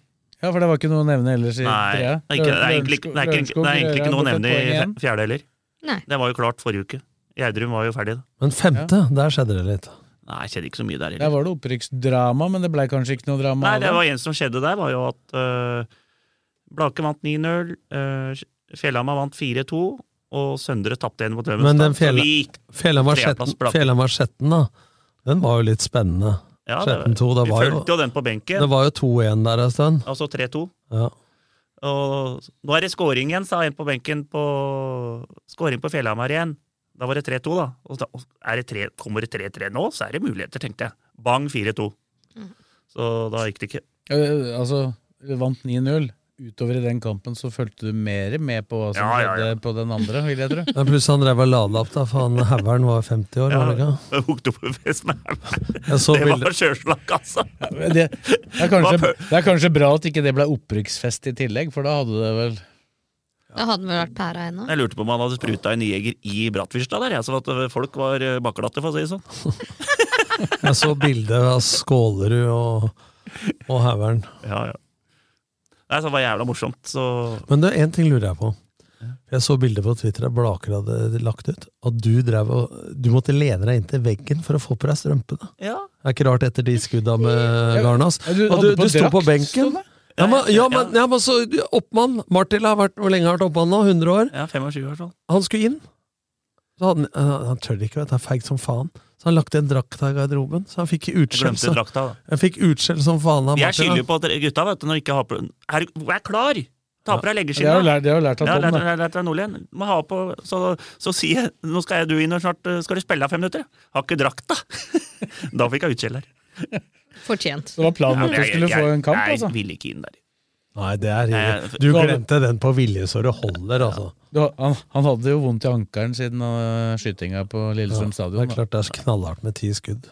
Ja, for det var ikke noe å nevne ellers i
Nei, det
trea.
er, ikke, det, er egentlig, ikke- det, er ikke, det er egentlig ikke noe å nevne i fj- fjerde heller.
Nei.
Det var jo klart forrige uke. Gjerdrum var jo ferdig, da.
Men femte, der skjedde det litt.
Nei, det skjedde ikke så mye der
Der
heller.
var det opprykksdrama, men det blei kanskje ikke noe drama
Nei,
av
det var en som skjedde der, var jo at uh, Blake vant 9-0, uh, Fjellhamar vant 4-2, og Søndre tapte igjen mot Dømmenstad.
Men den fjella, fjella var
treplass
sjetten,
Blake.
fjella var sjetten, da. Den var jo litt spennende.
Ja, det-
Sjetten to, det
vi
var jo
fulgte jo den på benken.
Det var jo 2-1 der en stund.
Altså 3-2.
Ja.
Og nå er det scoring igjen, sa en på benken på Scoring på Fjellhamar igjen. Da var det 3-2, da. Og da er det 3, kommer det 3-3 nå, så er det muligheter, tenkte jeg. Bang, 4-2. Så da gikk det ikke.
Eh, Altså, vi vant 9-0. Utover i den kampen så fulgte du mer med på hva som
Ja, ja, ja.
skjedde på den andre, vil jeg
*laughs*
tro.
Men pluss han drev og lada opp, da, for han haugeren var 50 år, var det
*laughs*
ikke?
Hukte opp en fest med
Jeg så
Det var
bilder-
sjølslag, altså!
Det, det, er kanskje, det er kanskje bra at ikke det ble opprykksfest i tillegg, for da hadde det vel
Da hadde den vel vært pæra ennå.
Jeg lurte på om han hadde spruta en jeger i Brattvista der, jeg, så at folk var eh, bakglatte, for å si det sånn.
Jeg så bilde av Skålerud og, og haugeren.
Ja, ja. Nei, så det var jævla morsomt, så
Men du, én ting lurer jeg på. Jeg så bilde på Twitter av Blaker hadde lagt ut. At du drev og Du måtte lene deg inntil veggen for å få på deg strømpene.
Ja.
Det er ikke rart etter de skudda med Garnas.
Ja, du
Og du,
hadde på
du sto
drakt,
på benken. Ja, men, ja, men, ja, men så Oppmann Martil har vært Hvor lenge har han vært oppmann nå? 100 år?
Ja, 25 i hvert fall.
Han skulle inn. Så hadde han, eh, han tør ikke, vet du. Han er feig som faen. Så han lagt en drakt her i garderoben. Så han fikk utskjell
Glemte
som-
drakta, da.
Jeg fikk utskjell som faen av
Jeg skylder
Martin.
jo på at dere- gutta vet du, når de ikke har på er, Vær klar! Ta på
Det har
deg leggeskinna.
jo lært, det har jo lært av
Ja,
Tom,
lært,
da.
lært, lært deg Nordlien. Må ha på, så, så sier jeg nå skal jeg du inn, og snart eh, skal du spille av fem minutter. Har ikke drakt, da! *laughs* da fikk jeg utskjell der.
Fortjent.
Det var planen
Ja,
at
men
du
jeg-
skulle
jeg-
få en kamp,
jeg
altså.
ville ikke inn der.
Nei, det er
Nei,
Du glemte den på vilje så det holder, altså.
Du, han, han hadde jo vondt i ankelen siden uh, skytinga på Lillestrøm
Ja, det
stadion.
er klart det er knallhardt med ti skudd.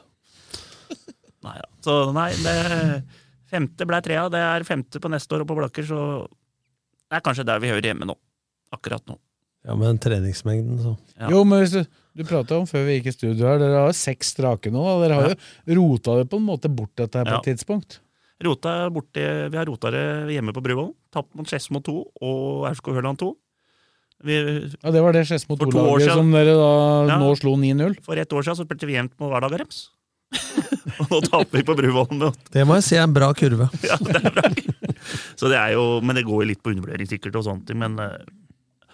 Nei, ja. Så nei, det femte ble trea. Det er femte på neste år, og på Blakker, så Det er kanskje der vi hører hjemme nå. Akkurat nå.
Ja, men treningsmengden, så.
Ja.
Jo, men hvis du, du prata om før vi gikk i studio her, dere har jo seks strake nå. Da. Dere har jo rota det på en måte bort dette her på et
Ja.
tidspunkt.
Rota borti, vi har rota det hjemme på Bruvollen. Tapt mot Skedsmo 2 og Aurskog Høland 2. Vi,
Ja, Det var det Skedsmo
For to år
2-laget
siden.
som dere da
Ja.
nå slo 9-0.
for ett år siden så spilte vi jevnt mot Hverdagerems. *laughs* og nå taper vi på Bruvollen. med åtte.
Det må jeg si er en bra kurve.
*laughs* Ja, det er bra. Så det er jo, men det går jo litt på undervurdering sikkert, og sånne ting, men eh,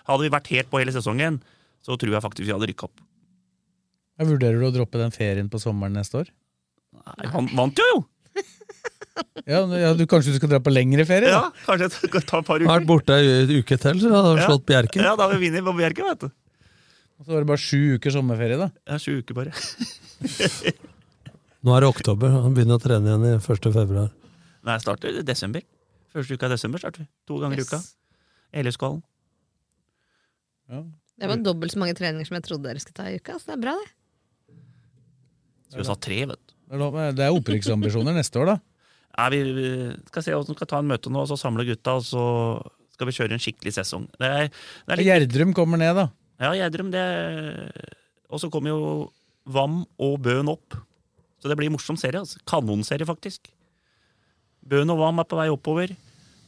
hadde vi vært helt på hele sesongen, så tror jeg faktisk vi hadde rykka opp.
Ja, vurderer du å droppe den ferien på sommeren neste år?
Nei, han vant jo, jo!
Ja, ja du, Kanskje du skal dra på lengre ferie?
Ja,
da?
kanskje jeg skal ta et par
Har
uker.
vært borte ei uke til, så hadde
Ja.
slått Bjerke.
Ja, da har vi vunnet på Bjerke, vet du.
Og Så var det bare sju uker sommerferie, da.
Ja, sju uker bare.
Nå er det oktober, han begynner å trene igjen i 1. februar.
Nei, starter i desember. Første uka i desember starter vi. To ganger i
Yes.
uka. Eleskålen.
Det var dobbelt så mange treninger som jeg trodde dere skulle ta i uka. Så det er bra, det.
Skulle vi ha tre, vet du.
Det er lov- Det er opprykksambisjoner neste år, da.
Nei, vi, vi skal se hvordan vi skal ta en møte nå, og så samle gutta, og så skal vi kjøre en skikkelig sesong. Det er, det er litt
Gjerdrum kommer ned, da.
Ja, Gjerdrum, det Og så kommer jo Vam og Bøen opp. Så det blir en morsom serie. altså. Kanonserie, faktisk. Bøen og Vam er på vei oppover.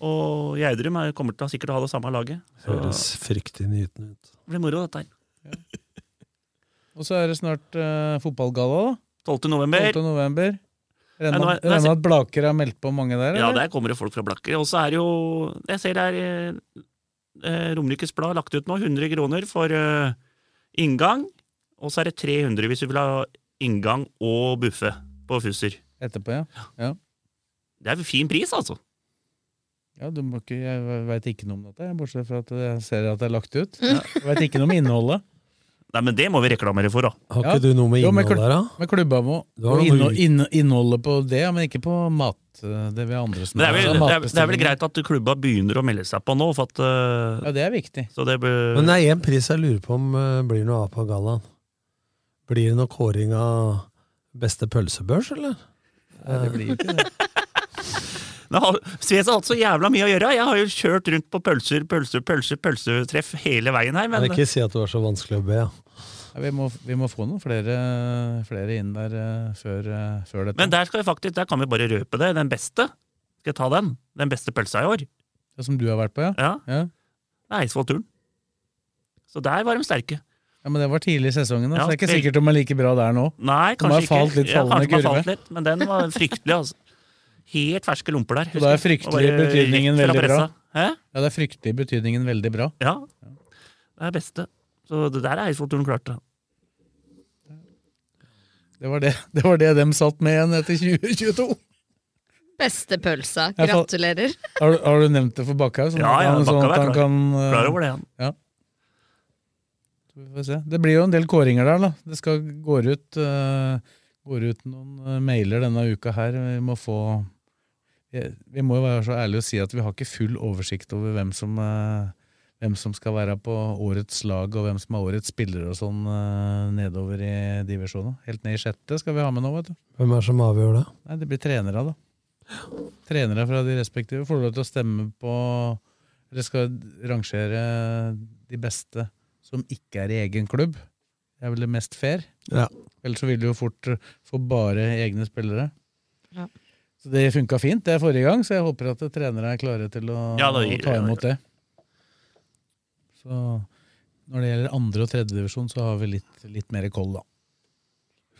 Og Gjerdrum er- kommer til å sikkert ha det samme laget. Så
Høres fryktelig nytende ut.
det blir moro, dette her.
Og så er det snart eh, fotballgalla, da.
12. november.
12. november.
Nei,
Regner
nå
med
er- nå er-
regner med at Blaker har meldt på mange der?
Ja,
eller?
der kommer det folk fra Blakker. Og så er det jo Jeg ser det er eh, Romerikes Blad lagt ut nå, 100 kroner for eh, inngang. Og så er det 300 hvis du vil ha inngang og buffe på Fusser.
Etterpå, ja. ja.
Det er en fin pris, altså.
Ja, du må ikke, Jeg veit ikke noe om dette, jeg, bortsett fra at jeg ser at det er lagt
Mm.
ut. Jeg veit ikke noe om innholdet.
Nei, men det må vi reklamere for, da.
Har ikke du noe med
Jo,
innhold
kl-
der, *laughs* da?
Med klubba må.
Du har
Og
noe
innhold,
ut-
inn, innholdet på det, ja, men ikke på mat. eh, Det vi andre
Men det er, vel,
snakker om,
det, er, det er vel
matbestillinger.
greit at klubba begynner å melde seg på nå, for at eh,
Ja, det er viktig.
Så det bør
Men det er én pris jeg lurer på om eh, blir noe av på gallaen. Blir det noe kåring av beste pølsebørs, eller?
Nei, det blir ikke det.
Nå har- Sves har hatt så jævla mye å gjøre. Jeg har jo kjørt rundt på pølser, pølser, pølser, pølsetreff hele veien her, men
Jeg vil ikke si at du er så vanskelig å be. Ja.
Ja, vi, må, vi må få noen flere, flere inn der eh, før, eh, før dette.
Men der, skal vi faktisk, der kan vi bare røpe det. Den beste. Skal jeg ta den? Den beste pølsa i år.
Ja, som du har vært på, ja?
Ja.
ja.
Det er Eidsvollturen. Så der var de sterke.
Ja, Men det var tidlig i sesongen, da,
Ja,
så det er ikke
vel-
sikkert om de er like bra der nå.
Nei,
De har
kanskje
falt
ikke.
litt
Ja,
fallende
kanskje de har
kurve.
falt litt, men den var fryktelig, altså. Helt ferske lomper der.
Så da er
husker jeg. Og
fryktelig
bare
betydningen
rett fra
veldig bra.
pressa. Hæ?
Ja, det er fryktelig betydningen veldig bra.
Ja. Det er beste. Så det der er Eidsvollturen klart, da.
Det var det, *laughs* det var det de satt med igjen etter 2022.
Beste pølsa.
Jeg fa-
Gratulerer.
Har, du- har du nevnt det for Bakkhaug? sånn
Ja,
at
ja,
han- sånn
Bakkhaug
at
er
han
klar.
kan, eh,
Klar over det, han.
Ja. Så vi får se. Det blir jo en del kåringer der, da. Det skal går ut, eh, går ut noen eh, mailer denne uka her. Vi må få Vi vi må jo være så ærlige og si at vi har ikke full oversikt over hvem som, eh, hvem som skal være på årets lag, og hvem som er årets spiller og sånn eh, nedover i divisjonen. Helt ned i sjette skal vi ha med nå, vet du.
Hvem er det som avgjør det?
Nei, det blir trenere, da. Trenere fra de respektive får lov til å stemme på Dere skal rangere de beste som ikke er i egen klubb. Det er vel det mest fair.
Ja.
Ellers så vil du jo fort få bare egne spillere.
Ja.
Så det funka fint det forrige gang, så jeg håper at trenere er klare til å,
Ja, da
å
gir-
ta imot det. Så når det gjelder andre- og tredjedivisjon, så har vi litt, litt mer koll, da.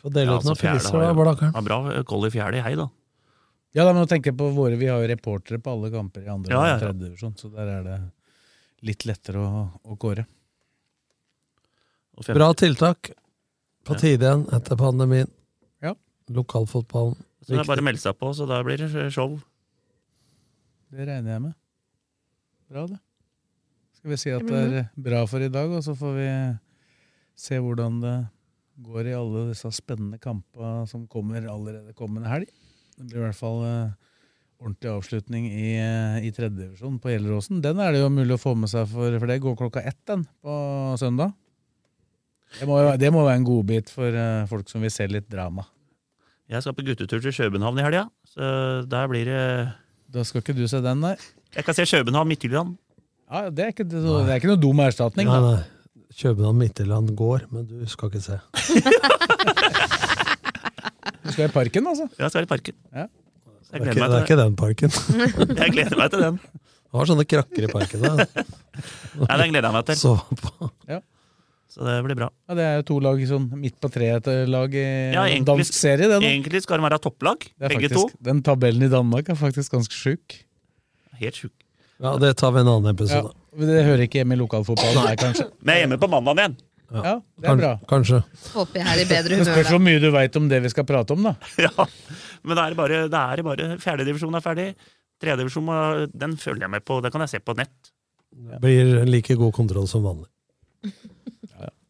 Få dele ut
altså,
noen
fjerde
priser,
har
da,
jo-
Blakkaren.
har Bra koll i fjerde, jeg, da.
Ja, da, men nå tenker jeg på våre, Vi har jo reportere på alle kamper i andre
Ja, ja,
og
ja.
tredje divisjon, så der er det litt lettere å, å kåre.
Og femte.
Bra tiltak. På
Ja.
tide igjen etter pandemien.
Ja.
Lokalfotballen.
Så det er bare å melde seg på, så da blir det show.
Det regner jeg med. Bra, det. Skal vi si at det er bra for i dag, og så får vi se hvordan det går i alle disse spennende kampene som kommer allerede kommende helg. Det blir i hvert fall eh, ordentlig avslutning i, eh, i tredje divisjon på Gjelleråsen. Den er det jo mulig å få med seg, for, for det går klokka ett den på søndag. Det må, jo- det må være en godbit for eh, folk som vil se litt drama.
Jeg skal på guttetur til København i helga, så der blir det
Da skal ikke du se den, nei.
Jeg kan se København Midtjylland.
Ja, det er ikke, det er ikke noe dum erstatning.
Nei,
da.
nei. København Midtjylland går, men du skal ikke se.
Du skal i parken, altså?
Ja, jeg skal i parken.
Ja.
Det er ikke, det er ikke den
*laughs*
parken.
Jeg gleder meg til den.
Du har sånne krakker i parken.
*laughs*
Da.
Nei, den gleder jeg meg til.
Så på.
Ja.
Så det blir bra.
Ja, det er jo to lag sånn midt på treet eh, lag i
Ja, egentlig-
dansk serie, det nå.
Egentlig skal de være topplag,
Det er
begge
faktisk, Den tabellen i Danmark er faktisk ganske sjuk.
to. Helt sjuk.
Ja, det tar vi en annen
Ja,
episode.
men det hører ikke hjemme i lokalfotballen der, kanskje.
Men jeg er hjemme på mandagen igjen. *laughs*
Ja, det er bra.
Kanskje.
Håper jeg er i bedre
Det
humør da.
spørs hvor mye du veit om det vi skal prate om, da.
Ja. Men det er bare, det er bare fjerdedivisjon er ferdig. Tredjedivisjon må- den følger jeg med på. Den kan jeg se på nett.
Blir like god kontroll som vanlig.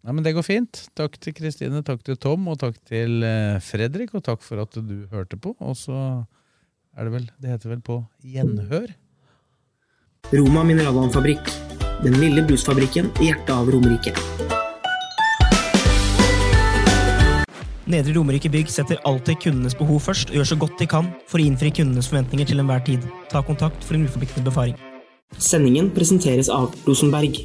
Nei, men Det går fint. Takk til Kristine, takk til Tom, og takk til eh, Fredrik. Og takk for at du hørte på. Og så er det vel Det heter vel på gjenhør?
Roma mineralvannfabrikk. Den lille brusfabrikken i hjertet av Romerike.
Nedre Romerike Bygg setter alltid kundenes behov først og gjør så godt de kan for å innfri kundenes forventninger til enhver tid. Ta kontakt for en uforpliktende befaring.
Sendingen presenteres av Rosenberg.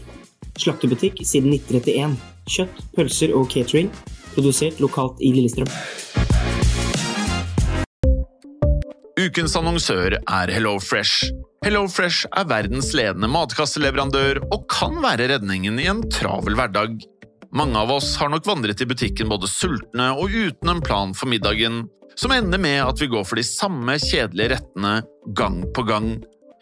Slaktebutikk siden 1931. Kjøtt, pølser og catering. Produsert lokalt i Lillestrøm.
Ukens annonsør er HelloFresh. HelloFresh er verdens ledende matkasseleverandør og kan være redningen i en travel hverdag. Mange av oss har nok vandret i butikken både sultne og uten en plan for middagen, som ender med at vi går for de samme kjedelige rettene gang på gang.